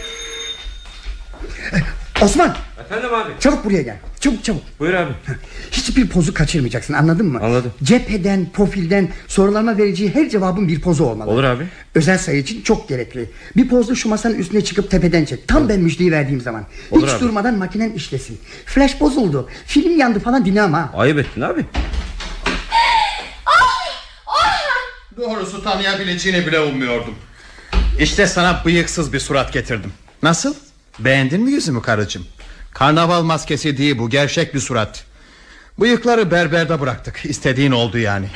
[SPEAKER 5] Osman
[SPEAKER 2] Efendim abi.
[SPEAKER 5] çabuk buraya gel. Çabuk çabuk.
[SPEAKER 2] Buyur abi.
[SPEAKER 5] Hiçbir pozu kaçırmayacaksın anladın mı?
[SPEAKER 2] Anladım.
[SPEAKER 5] Cepheden, profilden sorularına vereceği her cevabın bir pozu olmalı.
[SPEAKER 2] Olur abi.
[SPEAKER 5] Özel sayı için çok gerekli. Bir pozda şu masanın üstüne çıkıp tepeden çek. Tam ben müjdeyi verdiğim zaman.
[SPEAKER 2] Olur
[SPEAKER 5] Hiç
[SPEAKER 2] abi.
[SPEAKER 5] durmadan makinen işlesin. Flash bozuldu. Film yandı falan dinleme ha.
[SPEAKER 2] Ayıp ettin abi.
[SPEAKER 6] Doğrusu tanıyabileceğini bile ummuyordum. İşte sana bıyıksız bir surat getirdim. Nasıl? Beğendin mi yüzümü karıcığım? Karnaval maskesi değil bu gerçek bir surat. Bıyıkları berberde bıraktık. İstediğin oldu yani.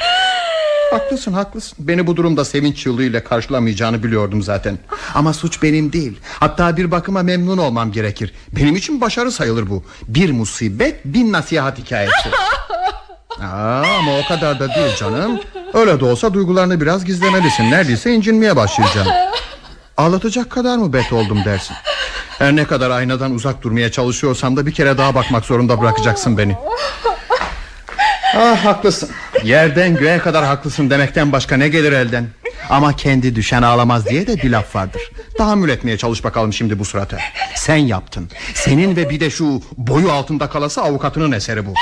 [SPEAKER 6] haklısın haklısın. Beni bu durumda sevinç çığlığıyla karşılamayacağını biliyordum zaten. Ama suç benim değil. Hatta bir bakıma memnun olmam gerekir. Benim için başarı sayılır bu. Bir musibet bin nasihat hikayesi. Ah! Aa, ama o kadar da değil canım. Öyle de olsa duygularını biraz gizlemelisin. Neredeyse incinmeye başlayacaksın. Ağlatacak kadar mı bet oldum dersin. Her ne kadar aynadan uzak durmaya çalışıyorsam da bir kere daha bakmak zorunda bırakacaksın beni. Ah haklısın. Yerden göğe kadar haklısın demekten başka ne gelir elden? Ama kendi düşen ağlamaz diye de bir laf vardır. Tahammül etmeye çalış bakalım şimdi bu surata. Sen yaptın. Senin ve bir de şu boyu altında kalası avukatının eseri bu.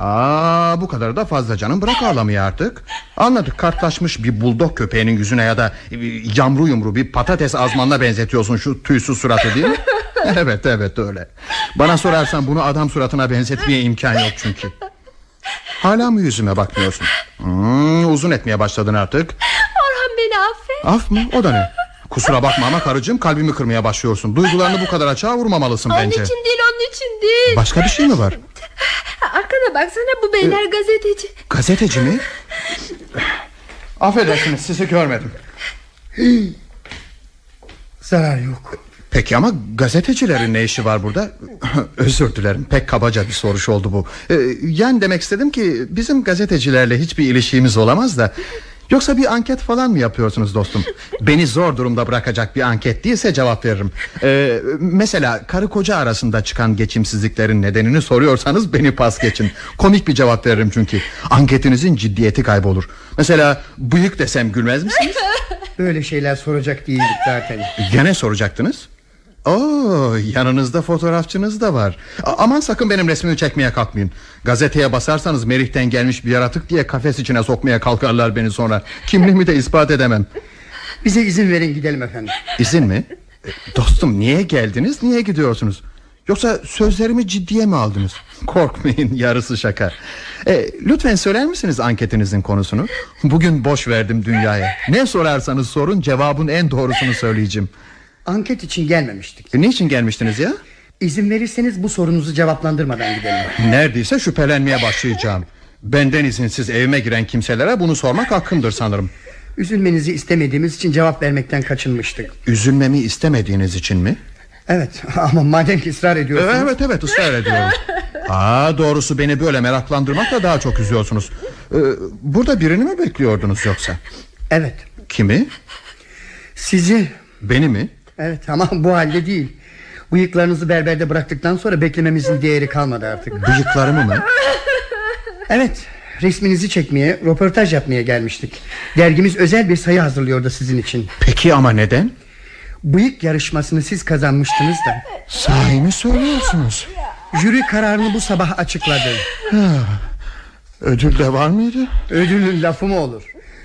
[SPEAKER 6] Aa, bu kadar da fazla canım bırak ağlamayı artık Anladık kartlaşmış bir buldog köpeğinin yüzüne ya da e, bir yamru yumru bir patates azmanına benzetiyorsun şu tüysüz suratı değil mi? evet evet öyle Bana sorarsan bunu adam suratına benzetmeye imkan yok çünkü Hala mı yüzüme bakmıyorsun? Hmm, uzun etmeye başladın artık
[SPEAKER 4] Orhan beni affet.
[SPEAKER 6] Af mı o da ne? Kusura bakma ama karıcığım kalbimi kırmaya başlıyorsun Duygularını bu kadar açığa vurmamalısın
[SPEAKER 4] Onun
[SPEAKER 6] bence
[SPEAKER 4] için değil onun için değil.
[SPEAKER 6] Başka Ee- bir şey mi var?
[SPEAKER 4] Arkana baksana bu beyler gazeteci.
[SPEAKER 6] Gazeteci mi? Affedersiniz sizi görmedim.
[SPEAKER 5] Zarar yok.
[SPEAKER 6] Peki ama gazetecilerin ne işi var burada? Özür dilerim pek kabaca bir soruş oldu bu. Ee, yani demek istedim ki bizim gazetecilerle hiçbir ilişkimiz olamaz da... Yoksa bir anket falan mı yapıyorsunuz dostum? Beni zor durumda bırakacak bir anket değilse cevap veririm. Ee, mesela karı koca arasında çıkan geçimsizliklerin nedenini soruyorsanız beni pas geçin. Komik bir cevap veririm çünkü. Anketinizin ciddiyeti kaybolur. Mesela bıyık desem gülmez misiniz?
[SPEAKER 5] Böyle şeyler soracak değildik zaten.
[SPEAKER 6] Gene soracaktınız? Oo, yanınızda fotoğrafçınız da var. A- aman sakın benim resmimi çekmeye kalkmayın. Gazeteye basarsanız Merih'ten gelmiş bir yaratık diye kafes içine sokmaya kalkarlar beni sonra. Kimliğimi de ispat edemem.
[SPEAKER 5] Bize izin verin gidelim efendim.
[SPEAKER 6] İzin mi? E, Dostum niye geldiniz, niye gidiyorsunuz? Yoksa sözlerimi ciddiye mi aldınız? Korkmayın yarısı şaka. E, lütfen söyler misiniz anketinizin konusunu? Bugün boş verdim dünyaya. Ne sorarsanız sorun cevabın en doğrusunu söyleyeceğim.
[SPEAKER 5] Anket için gelmemiştik.
[SPEAKER 6] E, niçin gelmiştiniz ya?
[SPEAKER 5] İzin verirseniz bu sorunuzu cevaplandırmadan gidelim.
[SPEAKER 6] Neredeyse şüphelenmeye başlayacağım. Benden izinsiz evime giren kimselere bunu sormak hakkımdır sanırım.
[SPEAKER 5] Üzülmenizi istemediğimiz için cevap vermekten kaçınmıştık.
[SPEAKER 6] Üzülmemi istemediğiniz için mi?
[SPEAKER 5] Evet ama madem ki ısrar ediyorsunuz.
[SPEAKER 6] Ee, Evet evet ısrar ediyorum. Aa, doğrusu beni böyle meraklandırmakla daha çok üzüyorsunuz. Ee, burada birini mi bekliyordunuz yoksa?
[SPEAKER 5] evet.
[SPEAKER 6] Kimi?
[SPEAKER 5] Sizi
[SPEAKER 6] Beni mi?
[SPEAKER 5] Evet ama bu halde değil. Bıyıklarınızı berberde bıraktıktan sonra beklememizin değeri kalmadı artık.
[SPEAKER 6] Bıyıklarımı mı?
[SPEAKER 5] Evet, resminizi çekmeye, röportaj yapmaya gelmiştik. Dergimiz özel bir sayı hazırlıyordu sizin için.
[SPEAKER 6] Peki ama neden?
[SPEAKER 5] Bıyık yarışmasını siz kazanmıştınız da.
[SPEAKER 6] Sahi mi söylüyorsunuz?
[SPEAKER 5] Jüri kararını bu sabah açıkladı.
[SPEAKER 6] Ödül de var mıydı?
[SPEAKER 5] Ödülün lafı mı olur?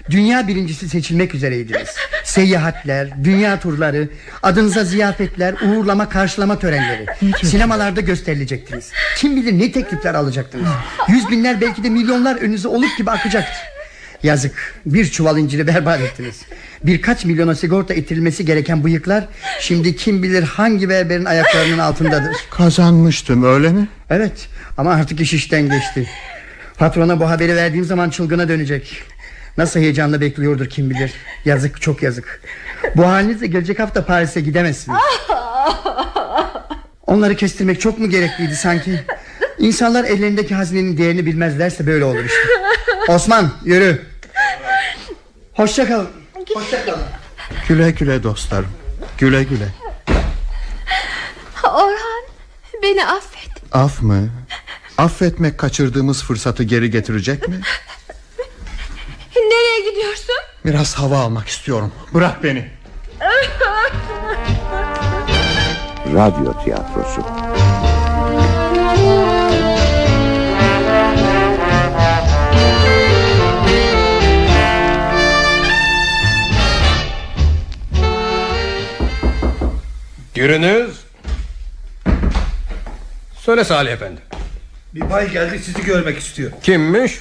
[SPEAKER 5] Dünya birincisi seçilmek üzereydiniz. Seyahatler, dünya turları, adınıza ziyafetler, uğurlama, karşılama törenleri. Sinemalarda gösterilecektiniz. Kim bilir ne teklifler alacaktınız. Yüz binler belki de milyonlar önünüze oluk gibi akacaktır. Yazık bir çuval inciri berbat ettiniz Birkaç milyona sigorta itilmesi gereken bıyıklar Şimdi kim bilir hangi berberin ayaklarının altındadır
[SPEAKER 6] Kazanmıştım öyle mi?
[SPEAKER 5] Evet ama artık iş işten geçti Patrona bu haberi verdiğim zaman çılgına dönecek Nasıl heyecanla bekliyordur kim bilir Yazık çok yazık Bu halinizle gelecek hafta Paris'e gidemezsiniz Onları kestirmek çok mu gerekliydi sanki İnsanlar ellerindeki hazinenin değerini bilmezlerse böyle olur işte Osman yürü Hoşça kalın Hoşça kalın
[SPEAKER 6] Güle güle dostlarım. Güle güle.
[SPEAKER 4] Orhan beni affet
[SPEAKER 6] Af mı? Affetmek kaçırdığımız fırsatı geri getirecek mi?
[SPEAKER 4] Nereye gidiyorsun?
[SPEAKER 6] Biraz hava almak istiyorum. Bırak beni.
[SPEAKER 7] Radyo tiyatrosu.
[SPEAKER 1] Yürünüz. Söyle Salih Efendi.
[SPEAKER 3] Bir bay geldi sizi görmek istiyor.
[SPEAKER 1] Kimmiş?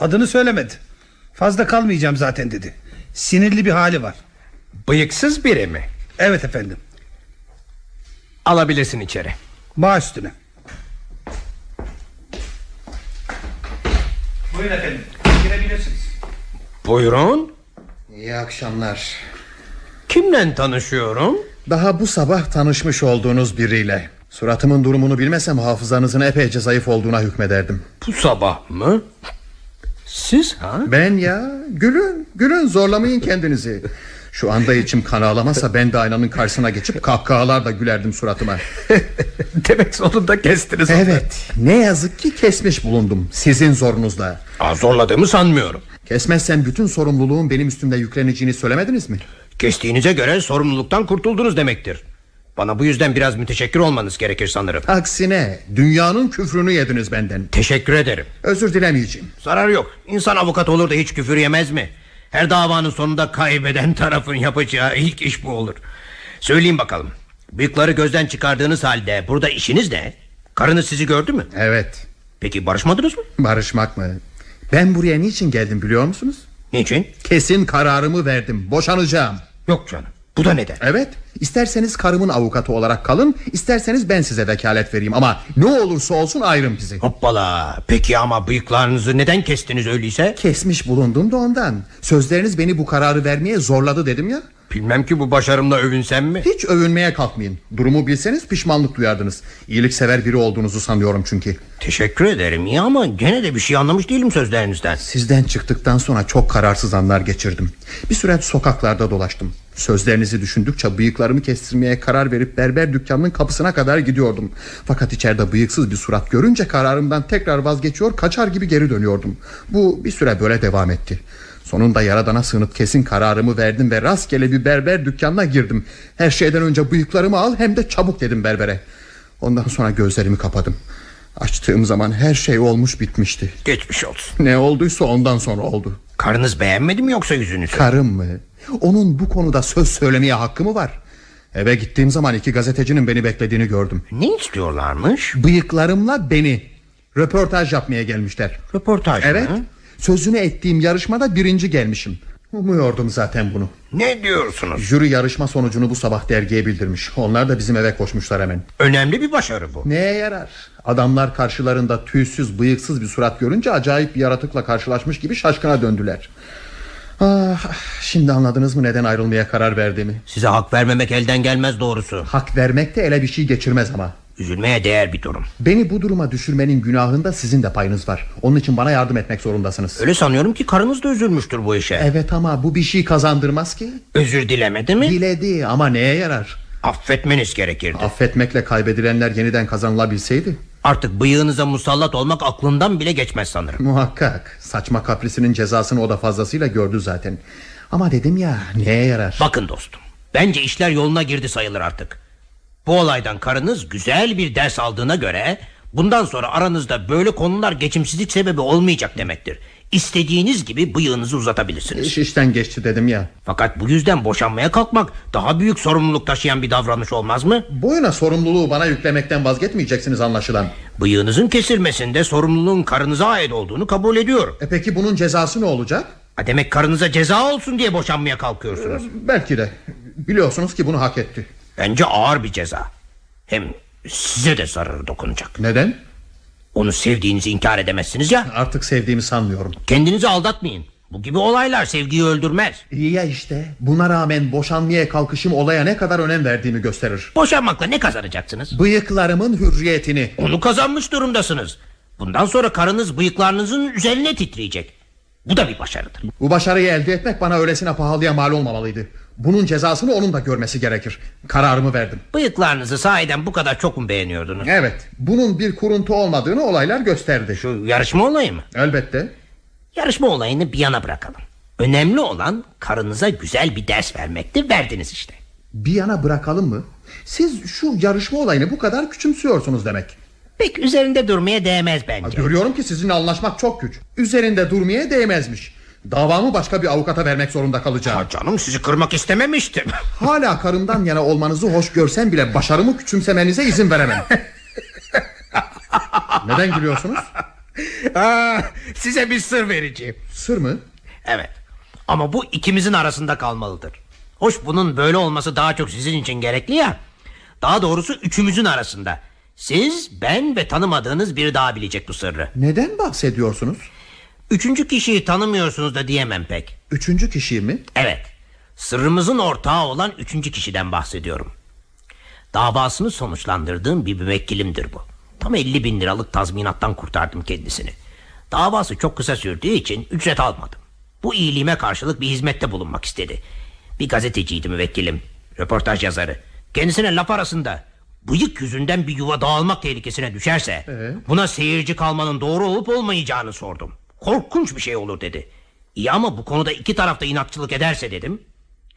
[SPEAKER 3] Adını söylemedi. Fazla kalmayacağım zaten dedi. Sinirli bir hali var.
[SPEAKER 1] Bıyıksız biri mi?
[SPEAKER 3] Evet efendim.
[SPEAKER 1] Alabilirsin içeri.
[SPEAKER 3] Bağ üstüne. Buyurun efendim. Girebilirsiniz.
[SPEAKER 1] Buyurun.
[SPEAKER 6] İyi akşamlar.
[SPEAKER 1] Kimle tanışıyorum?
[SPEAKER 6] Daha bu sabah tanışmış olduğunuz biriyle. Suratımın durumunu bilmesem hafızanızın epeyce zayıf olduğuna hükmederdim.
[SPEAKER 1] Bu sabah mı? Siz ha?
[SPEAKER 6] Ben ya gülün gülün zorlamayın kendinizi Şu anda içim kan ağlamasa ben de aynanın karşısına geçip kahkahalarla gülerdim suratıma
[SPEAKER 1] Demek sonunda kestiniz.
[SPEAKER 6] Evet ne yazık ki kesmiş bulundum sizin zorunuzla
[SPEAKER 1] Aa, zorladığımı sanmıyorum.
[SPEAKER 6] Kesmezsen bütün sorumluluğun benim üstümde yükleneceğini söylemediniz mi?
[SPEAKER 1] Kestiğinize göre sorumluluktan kurtuldunuz demektir. Bana bu yüzden biraz müteşekkir olmanız gerekir sanırım.
[SPEAKER 6] Aksine dünyanın küfrünü yediniz benden
[SPEAKER 1] Teşekkür ederim.
[SPEAKER 6] Özür dilemeyeceğim
[SPEAKER 1] Zarar yok. İnsan avukat olur da hiç küfür yemez mi? Her davanın sonunda kaybeden tarafın yapacağı ilk iş bu olur. Söyleyin bakalım. Bıyıkları gözden çıkardığınız halde burada işiniz ne? Karınız sizi gördü mü?
[SPEAKER 6] Evet
[SPEAKER 1] Peki barışmadınız mı?
[SPEAKER 6] barışmak mı? Ben buraya niçin geldim biliyor musunuz?
[SPEAKER 1] Niçin?
[SPEAKER 6] Kesin kararımı verdim boşanacağım
[SPEAKER 1] Yok canım. Bu da neden?
[SPEAKER 6] Evet isterseniz karımın avukatı olarak kalın isterseniz ben size vekalet vereyim Ama ne olursa olsun ayrım bizi
[SPEAKER 1] Hoppala. Peki ama bıyıklarınızı neden kestiniz öyleyse?
[SPEAKER 6] Kesmiş bulundum da ondan Sözleriniz beni bu kararı vermeye zorladı dedim ya
[SPEAKER 1] Bilmem ki bu başarımla övünsem mi?
[SPEAKER 6] Hiç övünmeye kalkmayın Durumu bilseniz pişmanlık duyardınız İyiliksever biri olduğunuzu sanıyorum çünkü
[SPEAKER 1] Teşekkür ederim iyi ama gene de bir şey anlamış değilim sözlerinizden.
[SPEAKER 6] Sizden çıktıktan sonra çok kararsız anlar geçirdim Bir süre sokaklarda dolaştım Sözlerinizi düşündükçe bıyıklarımı kestirmeye karar verip berber dükkanının kapısına kadar gidiyordum. Fakat içeride bıyıksız bir surat görünce kararımdan tekrar vazgeçiyor kaçar gibi geri dönüyordum. Bu bir süre böyle devam etti. Sonunda yaradana sığınıp kesin kararımı verdim ve rastgele bir berber dükkanına girdim. Her şeyden önce bıyıklarımı al hem de çabuk dedim berbere. Ondan sonra gözlerimi kapadım. Açtığım zaman her şey olmuş bitmişti.
[SPEAKER 1] Geçmiş olsun.
[SPEAKER 6] Ne olduysa ondan sonra oldu.
[SPEAKER 1] Karınız beğenmedi mi yoksa yüzünüzü?
[SPEAKER 6] Karım mı? Onun bu konuda söz söylemeye hakkı mı var? Eve gittiğim zaman iki gazetecinin beni beklediğini gördüm.
[SPEAKER 1] ne istiyorlarmış?
[SPEAKER 6] Bıyıklarımla beni röportaj yapmaya gelmişler.
[SPEAKER 1] Röportaj mı?
[SPEAKER 6] Evet. Sözünü ettiğim yarışmada birinci gelmişim. Umuyordum zaten bunu.
[SPEAKER 1] Ne diyorsunuz?
[SPEAKER 6] Jüri yarışma sonucunu bu sabah dergiye bildirmiş. Onlar da bizim eve koşmuşlar hemen.
[SPEAKER 1] Önemli bir başarı bu.
[SPEAKER 6] Neye yarar? Adamlar karşılarında tüysüz bıyıksız bir surat görünce acayip bir yaratıkla karşılaşmış gibi şaşkına döndüler. Ah, şimdi anladınız mı neden ayrılmaya karar verdiğimi?
[SPEAKER 1] Size hak vermemek elden gelmez doğrusu.
[SPEAKER 6] Hak vermek de ele bir şey geçirmez ama.
[SPEAKER 1] Üzülmeye değer bir durum.
[SPEAKER 6] Beni bu duruma düşürmenin günahında sizin de payınız var. Onun için bana yardım etmek zorundasınız.
[SPEAKER 1] Öyle sanıyorum ki karınız da üzülmüştür bu işe.
[SPEAKER 6] Evet ama bu bir şey kazandırmaz ki.
[SPEAKER 1] Özür dilemedi mi?
[SPEAKER 6] Diledi ama neye yarar?
[SPEAKER 1] Affetmeniz gerekirdi.
[SPEAKER 6] Affetmekle kaybedilenler yeniden kazanılabilseydi.
[SPEAKER 1] Artık bıyığınıza musallat olmak aklından bile geçmez sanırım.
[SPEAKER 6] Muhakkak saçma kaprisinin cezasını o da fazlasıyla gördü zaten. Ama dedim ya neye yarar?
[SPEAKER 1] Bakın dostum. Bence işler yoluna girdi sayılır artık. Bu olaydan karınız güzel bir ders aldığına göre Bundan sonra aranızda böyle konular geçimsizlik sebebi olmayacak demektir. İstediğiniz gibi bıyığınızı uzatabilirsiniz.
[SPEAKER 6] İş işten geçti dedim ya.
[SPEAKER 1] Fakat bu yüzden boşanmaya kalkmak daha büyük sorumluluk taşıyan bir davranış olmaz mı?
[SPEAKER 6] Boyuna sorumluluğu bana yüklemekten vazgeçmeyeceksiniz anlaşılan.
[SPEAKER 1] Bıyığınızın kesilmesinde sorumluluğun karınıza ait olduğunu kabul ediyorum.
[SPEAKER 6] E peki bunun cezası ne olacak?
[SPEAKER 1] Ha demek karınıza ceza olsun diye boşanmaya kalkıyorsunuz.
[SPEAKER 6] Belki de. Biliyorsunuz ki bunu hak etti.
[SPEAKER 1] Bence ağır bir ceza. Hem size de zararı dokunacak.
[SPEAKER 6] Neden?
[SPEAKER 1] Onu sevdiğinizi inkar edemezsiniz ya.
[SPEAKER 6] Artık sevdiğimi sanmıyorum.
[SPEAKER 1] Kendinizi aldatmayın. Bu gibi olaylar sevgiyi öldürmez.
[SPEAKER 6] İyi ya işte. Buna rağmen boşanmaya kalkışım olaya ne kadar önem verdiğimi gösterir.
[SPEAKER 1] Boşanmakla ne kazanacaksınız?
[SPEAKER 6] Bıyıklarımın hürriyetini.
[SPEAKER 1] Onu kazanmış durumdasınız. Bundan sonra karınız bıyıklarınızın üzerine titreyecek. Bu da bir başarıdır.
[SPEAKER 6] Bu başarıyı elde etmek bana öylesine pahalıya mal olmamalıydı. Bunun cezasını onun da görmesi gerekir. Kararımı verdim.
[SPEAKER 1] Bıyıklarınızı sahiden bu kadar çok mu beğeniyordunuz?
[SPEAKER 6] Evet, bunun bir kuruntu olmadığını olaylar gösterdi.
[SPEAKER 1] Şu yarışma olayı mı?
[SPEAKER 6] Elbette.
[SPEAKER 1] Yarışma olayını bir yana bırakalım. Önemli olan karınıza güzel bir ders vermekti. Verdiniz işte.
[SPEAKER 6] Bir yana bırakalım mı? Siz şu yarışma olayını bu kadar küçümsüyorsunuz demek.
[SPEAKER 1] Pek üzerinde durmaya değmez
[SPEAKER 6] Ha,
[SPEAKER 1] bence.
[SPEAKER 6] Görüyorum ki sizinle anlaşmak çok güç. Üzerinde durmaya değmezmiş. Davamı başka bir avukata vermek zorunda kalacağım.
[SPEAKER 1] Ha canım sizi kırmak istememiştim.
[SPEAKER 6] Hala karımdan yana olmanızı hoş görsem bile başarımı küçümsemenize izin veremem. Neden gülüyorsunuz?
[SPEAKER 1] Aa, size bir sır vereceğim.
[SPEAKER 6] Sır mı?
[SPEAKER 1] Evet. Ama bu ikimizin arasında kalmalıdır. Hoş bunun böyle olması daha çok sizin için gerekli ya. Daha doğrusu üçümüzün arasında. Siz, ben ve tanımadığınız biri daha bilecek bu sırrı.
[SPEAKER 6] Neden bahsediyorsunuz?
[SPEAKER 1] Üçüncü kişiyi tanımıyorsunuz da diyemem pek.
[SPEAKER 6] Üçüncü kişiyi mi?
[SPEAKER 1] Evet. Sırrımızın ortağı olan üçüncü kişiden bahsediyorum. Davasını sonuçlandırdığım bir müvekkilimdir bu. Tam 50 bin liralık tazminattan kurtardım kendisini. Davası çok kısa sürdüğü için ücret almadım. Bu iyiliğime karşılık bir hizmette bulunmak istedi. Bir gazeteciydi müvekkilim. Röportaj yazarı. Kendisine laf arasında bıyık yüzünden bir yuva dağılmak tehlikesine düşerse buna seyirci kalmanın doğru olup olmayacağını sordum. Korkunç bir şey olur dedi. İyi ama bu konuda iki tarafta inatçılık ederse dedim.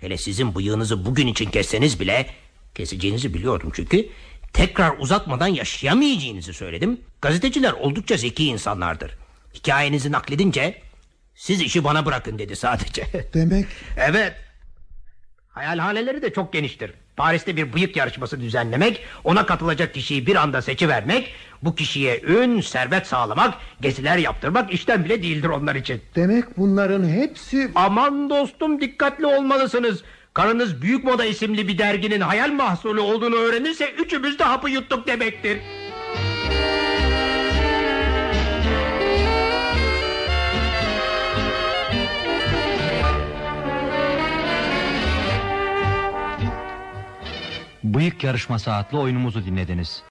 [SPEAKER 1] Hele sizin bıyığınızı bugün için kesseniz bile keseceğinizi biliyordum çünkü tekrar uzatmadan yaşayamayacağınızı söyledim. Gazeteciler oldukça zeki insanlardır. Hikayenizi nakledince siz işi bana bırakın dedi sadece.
[SPEAKER 6] Demek
[SPEAKER 1] evet. Hayalhaneleri de çok geniştir. Paris'te bir bıyık yarışması düzenlemek, ona katılacak kişiyi bir anda seçivermek, bu kişiye ün, servet sağlamak, geziler yaptırmak işten bile değildir onlar için.
[SPEAKER 6] demek bunların hepsi
[SPEAKER 1] Aman dostum dikkatli olmalısınız. Karınız Büyük Moda isimli bir derginin hayal mahsulü olduğunu öğrenirse üçümüz de hapı yuttuk demektir.
[SPEAKER 8] Bıyık Yarışması adlı oyunumuzu dinlediniz.